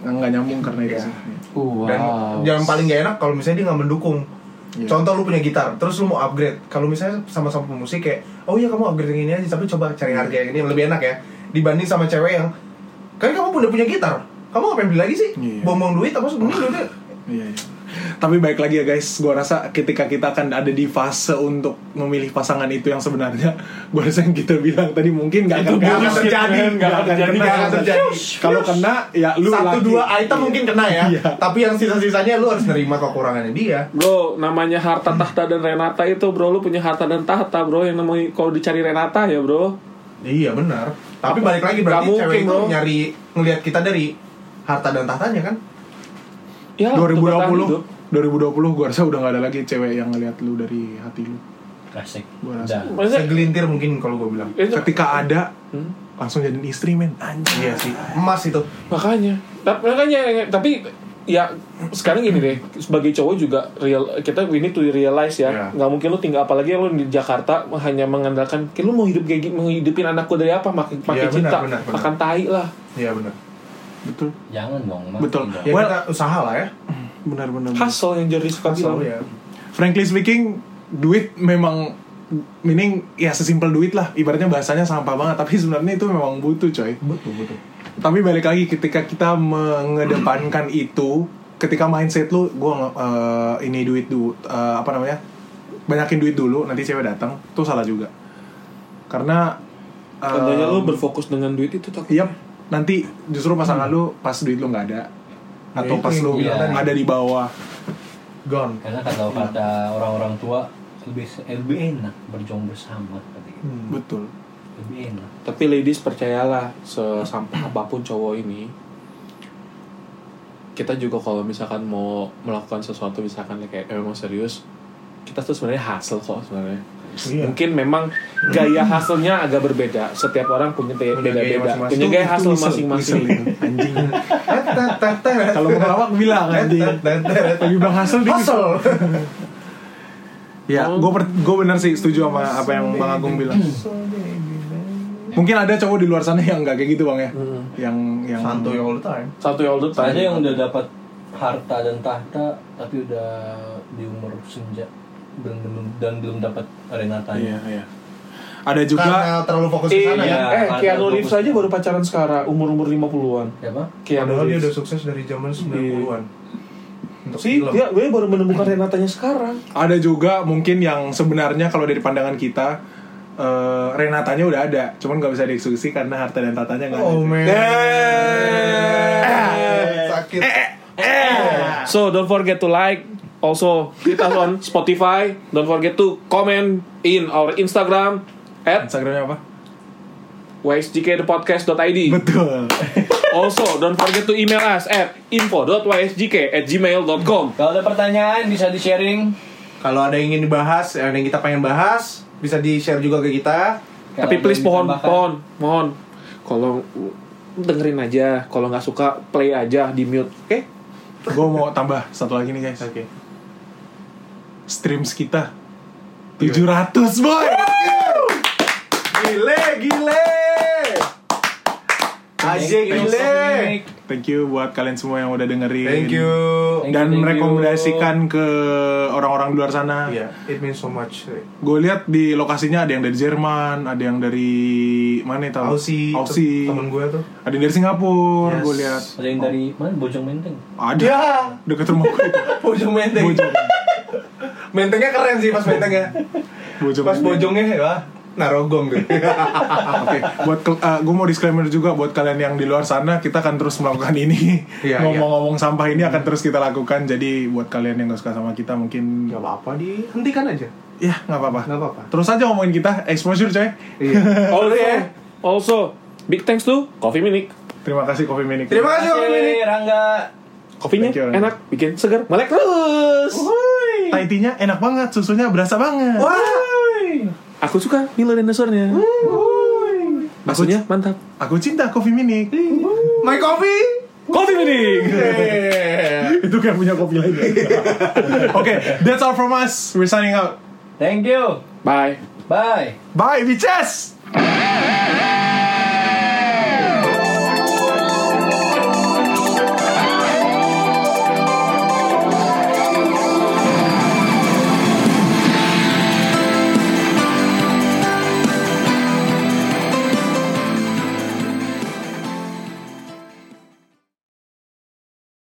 [SPEAKER 4] nggak nyambung karena itu
[SPEAKER 5] Iya.
[SPEAKER 4] sih.
[SPEAKER 3] Wow.
[SPEAKER 5] Dan yang paling gak enak kalau misalnya dia nggak mendukung.
[SPEAKER 4] Iya.
[SPEAKER 5] Contoh lu punya gitar, terus lu mau upgrade. Kalau misalnya sama-sama pemusik kayak, oh iya kamu upgrade yang ini aja, tapi coba cari
[SPEAKER 3] Iya.
[SPEAKER 5] harga yang ini yang lebih enak ya. Dibanding sama cewek yang, kan kamu udah punya gitar, kamu ngapain beli lagi sih?
[SPEAKER 4] Iya.
[SPEAKER 5] Buang-buang duit, apa sebenarnya duitnya?
[SPEAKER 4] Iya, iya. Tapi baik lagi ya guys, gue rasa ketika kita akan ada di fase untuk memilih pasangan itu yang sebenarnya, gue rasa yang kita bilang tadi mungkin gak akan,
[SPEAKER 5] Nggak
[SPEAKER 4] nggak
[SPEAKER 5] akan
[SPEAKER 4] akan
[SPEAKER 5] terjadi,
[SPEAKER 4] nggak akan
[SPEAKER 5] terjadi,
[SPEAKER 4] kena.
[SPEAKER 5] nggak akan terjadi.
[SPEAKER 4] Kalau kena ya lu
[SPEAKER 5] Satu
[SPEAKER 4] laki.
[SPEAKER 5] dua item mungkin kena ya,
[SPEAKER 4] Iya.
[SPEAKER 5] tapi yang sisa-sisanya lu harus nerima kekurangannya dia.
[SPEAKER 3] Bro, namanya harta tahta dan Renata itu bro, lu punya harta dan tahta bro yang namanya kalau dicari Renata ya bro.
[SPEAKER 5] Iya benar. Tapi balik lagi berarti
[SPEAKER 3] Nggak
[SPEAKER 5] cewek
[SPEAKER 3] mungkin,
[SPEAKER 5] itu
[SPEAKER 3] bro.
[SPEAKER 5] nyari ngelihat kita dari harta dan tahtanya kan?
[SPEAKER 3] Ya,
[SPEAKER 4] 2020 2020 gue rasa udah gak ada lagi cewek yang ngeliat lu dari hati lu
[SPEAKER 1] Klasik.
[SPEAKER 4] Gua rasa.
[SPEAKER 1] Udah.
[SPEAKER 3] gitu. Maksudnya
[SPEAKER 5] Segelintir mungkin kalau gue bilang.
[SPEAKER 3] Eh, itu
[SPEAKER 4] Ketika ada,
[SPEAKER 3] Hmm.
[SPEAKER 4] langsung jadi istri men Anjir
[SPEAKER 5] Iya sih. Emas itu.
[SPEAKER 3] makanya. Tapi makanya tapi ya sekarang gini deh sebagai cowok juga real kita ini tuh realize ya
[SPEAKER 5] Ya.
[SPEAKER 3] nggak mungkin lu tinggal apalagi lu di Jakarta hanya mengandalkan "Ki, lu mau hidup kayak gini mau hidupin anakku dari apa makin pakai
[SPEAKER 5] Iya, benar,
[SPEAKER 3] cinta
[SPEAKER 5] benar, benar.
[SPEAKER 3] makan tai lah
[SPEAKER 5] Iya benar.
[SPEAKER 4] Betul,
[SPEAKER 1] Jangan dong, Mak. Iya.
[SPEAKER 4] betul
[SPEAKER 1] Dong.
[SPEAKER 5] Ya
[SPEAKER 4] Well,
[SPEAKER 5] kita usaha lah ya.
[SPEAKER 4] benar-benar
[SPEAKER 3] hustle yang jadi suka bilang
[SPEAKER 5] Selalu ya.
[SPEAKER 4] frankly speaking duit memang meaning ya sesimpel duit lah ibaratnya bahasanya sampah banget tapi sebenarnya itu memang butuh coy
[SPEAKER 5] Betul betul.
[SPEAKER 4] tapi balik lagi ketika kita mengedepankan itu ketika mindset lu gua eh, ini duit dulu eh, apa namanya banyakin duit dulu nanti cewek datang tuh salah juga karena eh,
[SPEAKER 3] Tentunya
[SPEAKER 5] Um,
[SPEAKER 3] lu berfokus dengan duit itu tak
[SPEAKER 4] Yap, nanti justru pasangan lu pas duit lu nggak ada atau
[SPEAKER 5] Hmm. Ya, itu
[SPEAKER 4] pas
[SPEAKER 5] yang
[SPEAKER 4] lu
[SPEAKER 5] gua bilang
[SPEAKER 1] tadi.
[SPEAKER 4] ada di bawah
[SPEAKER 5] Gone.
[SPEAKER 1] Karena kalau kata orang-orang tua lebih lebih enak berjuang bersama katanya.
[SPEAKER 4] betul
[SPEAKER 1] Lebih enak.
[SPEAKER 3] Tapi ladies percayalah sesampah apapun cowok ini kita juga kalau misalkan mau melakukan sesuatu misalkan kayak emang serius kita tuh sebenarnya hasil kok sebenarnya
[SPEAKER 5] Iya.
[SPEAKER 3] mungkin memang gaya hasilnya agak berbeda setiap orang punya gaya-
[SPEAKER 5] Punya gaya
[SPEAKER 3] beda-beda
[SPEAKER 5] masing-masing.
[SPEAKER 3] punya gaya
[SPEAKER 4] Itu-
[SPEAKER 3] hasil
[SPEAKER 4] itu whistle,
[SPEAKER 3] masing-masing
[SPEAKER 4] whistle itu. anjing
[SPEAKER 5] Kalau
[SPEAKER 4] kalau mau ngelawak bilang anjing lagi bilang hasil di
[SPEAKER 5] Hustle.
[SPEAKER 4] ya
[SPEAKER 3] Oh.
[SPEAKER 4] gue bener sih setuju sama apa yang bang Agung bilang mungkin ada cowok di luar sana yang nggak kayak gitu bang ya
[SPEAKER 3] Hmm.
[SPEAKER 4] yang yang
[SPEAKER 5] Santuy all the time.
[SPEAKER 3] satu all the time
[SPEAKER 1] Ada yang udah dapat harta dan tahta tapi udah di umur senja dan belum dan belum dapat
[SPEAKER 4] iya
[SPEAKER 1] renatanya.
[SPEAKER 4] iya ada juga
[SPEAKER 5] Karena terlalu fokus ke
[SPEAKER 3] eh,
[SPEAKER 5] sana
[SPEAKER 1] Iya.
[SPEAKER 5] ya.
[SPEAKER 3] eh Keanu
[SPEAKER 1] ada
[SPEAKER 3] Reeves
[SPEAKER 1] fokus.
[SPEAKER 3] aja baru pacaran sekarang umur-umur 50-an
[SPEAKER 1] Siapa?
[SPEAKER 3] Keanu
[SPEAKER 5] Padahal dia
[SPEAKER 3] Reeves
[SPEAKER 5] udah sukses dari zaman 90-an.
[SPEAKER 2] untuk
[SPEAKER 3] sih
[SPEAKER 2] film.
[SPEAKER 3] dia gue baru menemukan Renatanya sekarang
[SPEAKER 4] Ada juga mungkin yang sebenarnya kalau dari pandangan kita eh, Renatanya udah ada, cuman nggak bisa dieksekusi karena harta dan tatanya nggak ada.
[SPEAKER 5] Oh, man.
[SPEAKER 2] Eh, sakit
[SPEAKER 3] So don't forget to like. Also kita on Spotify. Don't forget to comment in our Instagram at
[SPEAKER 4] Instagramnya apa?
[SPEAKER 3] ysjkthepodcast.id.
[SPEAKER 4] Betul.
[SPEAKER 3] Also don't forget to email us at info.ysjk at gmail.com.
[SPEAKER 1] Kalau ada pertanyaan bisa di sharing.
[SPEAKER 5] Kalau ada yang ingin dibahas, ada yang kita pengen bahas, bisa di-share juga ke kita.
[SPEAKER 3] Tapi please pohon, pohon, mohon. Kalau dengerin aja, kalau nggak suka play aja di mute, oke?
[SPEAKER 4] Gue mau tambah satu lagi nih guys.
[SPEAKER 5] Oke.
[SPEAKER 4] Streams kita 700 boy.
[SPEAKER 5] Gile, gile. Aja gile.
[SPEAKER 4] Thank you buat kalian semua yang udah dengerin.
[SPEAKER 5] Thank you.
[SPEAKER 1] Thank
[SPEAKER 4] Dan
[SPEAKER 1] you, thank
[SPEAKER 4] merekomendasikan ke orang-orang di luar sana.
[SPEAKER 5] Iya, it means so much.
[SPEAKER 4] Gue lihat di lokasinya ada yang dari Jerman, ada yang dari mana itu?
[SPEAKER 5] Ausi,
[SPEAKER 4] Ausi.
[SPEAKER 5] temen gue tuh.
[SPEAKER 4] Ada yang dari Singapura,
[SPEAKER 5] Yes. Ya.
[SPEAKER 4] gue lihat.
[SPEAKER 1] Ada yang dari mana? Bojong Menteng.
[SPEAKER 4] Ada. Deket rumah gue itu.
[SPEAKER 5] Bojong menteng.
[SPEAKER 4] Bojong.
[SPEAKER 5] Mentengnya keren sih pas mentengnya.
[SPEAKER 4] Bojong.
[SPEAKER 5] Pas bojongnya ya, narogong tuh.
[SPEAKER 4] Ah, Oke, buat gue mau disclaimer juga buat kalian yang di luar sana, kita akan terus melakukan ini.
[SPEAKER 5] Iya, Hmm.
[SPEAKER 4] Ngomong-ngomong sampah ini akan terus kita lakukan. Jadi buat kalian yang gak suka sama kita mungkin
[SPEAKER 5] Gak apa-apa dihentikan aja.
[SPEAKER 4] ya nggak apa-apa.
[SPEAKER 5] Gak Iya. apa-apa.
[SPEAKER 4] Terus aja ngomongin kita exposure coy.
[SPEAKER 5] Iya.
[SPEAKER 3] Also,
[SPEAKER 4] eh.
[SPEAKER 5] ya.
[SPEAKER 3] also big thanks to Coffee Minik.
[SPEAKER 4] Terima kasih Coffee Manic.
[SPEAKER 5] Terima kasih Om ini.
[SPEAKER 1] Hey, Rangga.
[SPEAKER 3] Kopinya
[SPEAKER 4] Thank you, Ren.
[SPEAKER 3] enak, bikin segar, melek terus.
[SPEAKER 4] Taitinya enak banget, susunya berasa banget.
[SPEAKER 3] Aku suka Milo dinosaurnya. Maksudnya mantap.
[SPEAKER 4] Aku cinta Coffee Manic.
[SPEAKER 5] Iya. My coffee.
[SPEAKER 3] Coffee meeting.
[SPEAKER 4] Itu kayak punya kopi lain. ya? Oke, that's all from us. We're signing out.
[SPEAKER 1] Thank you.
[SPEAKER 3] Bye.
[SPEAKER 1] Bye.
[SPEAKER 4] Bye, bitches.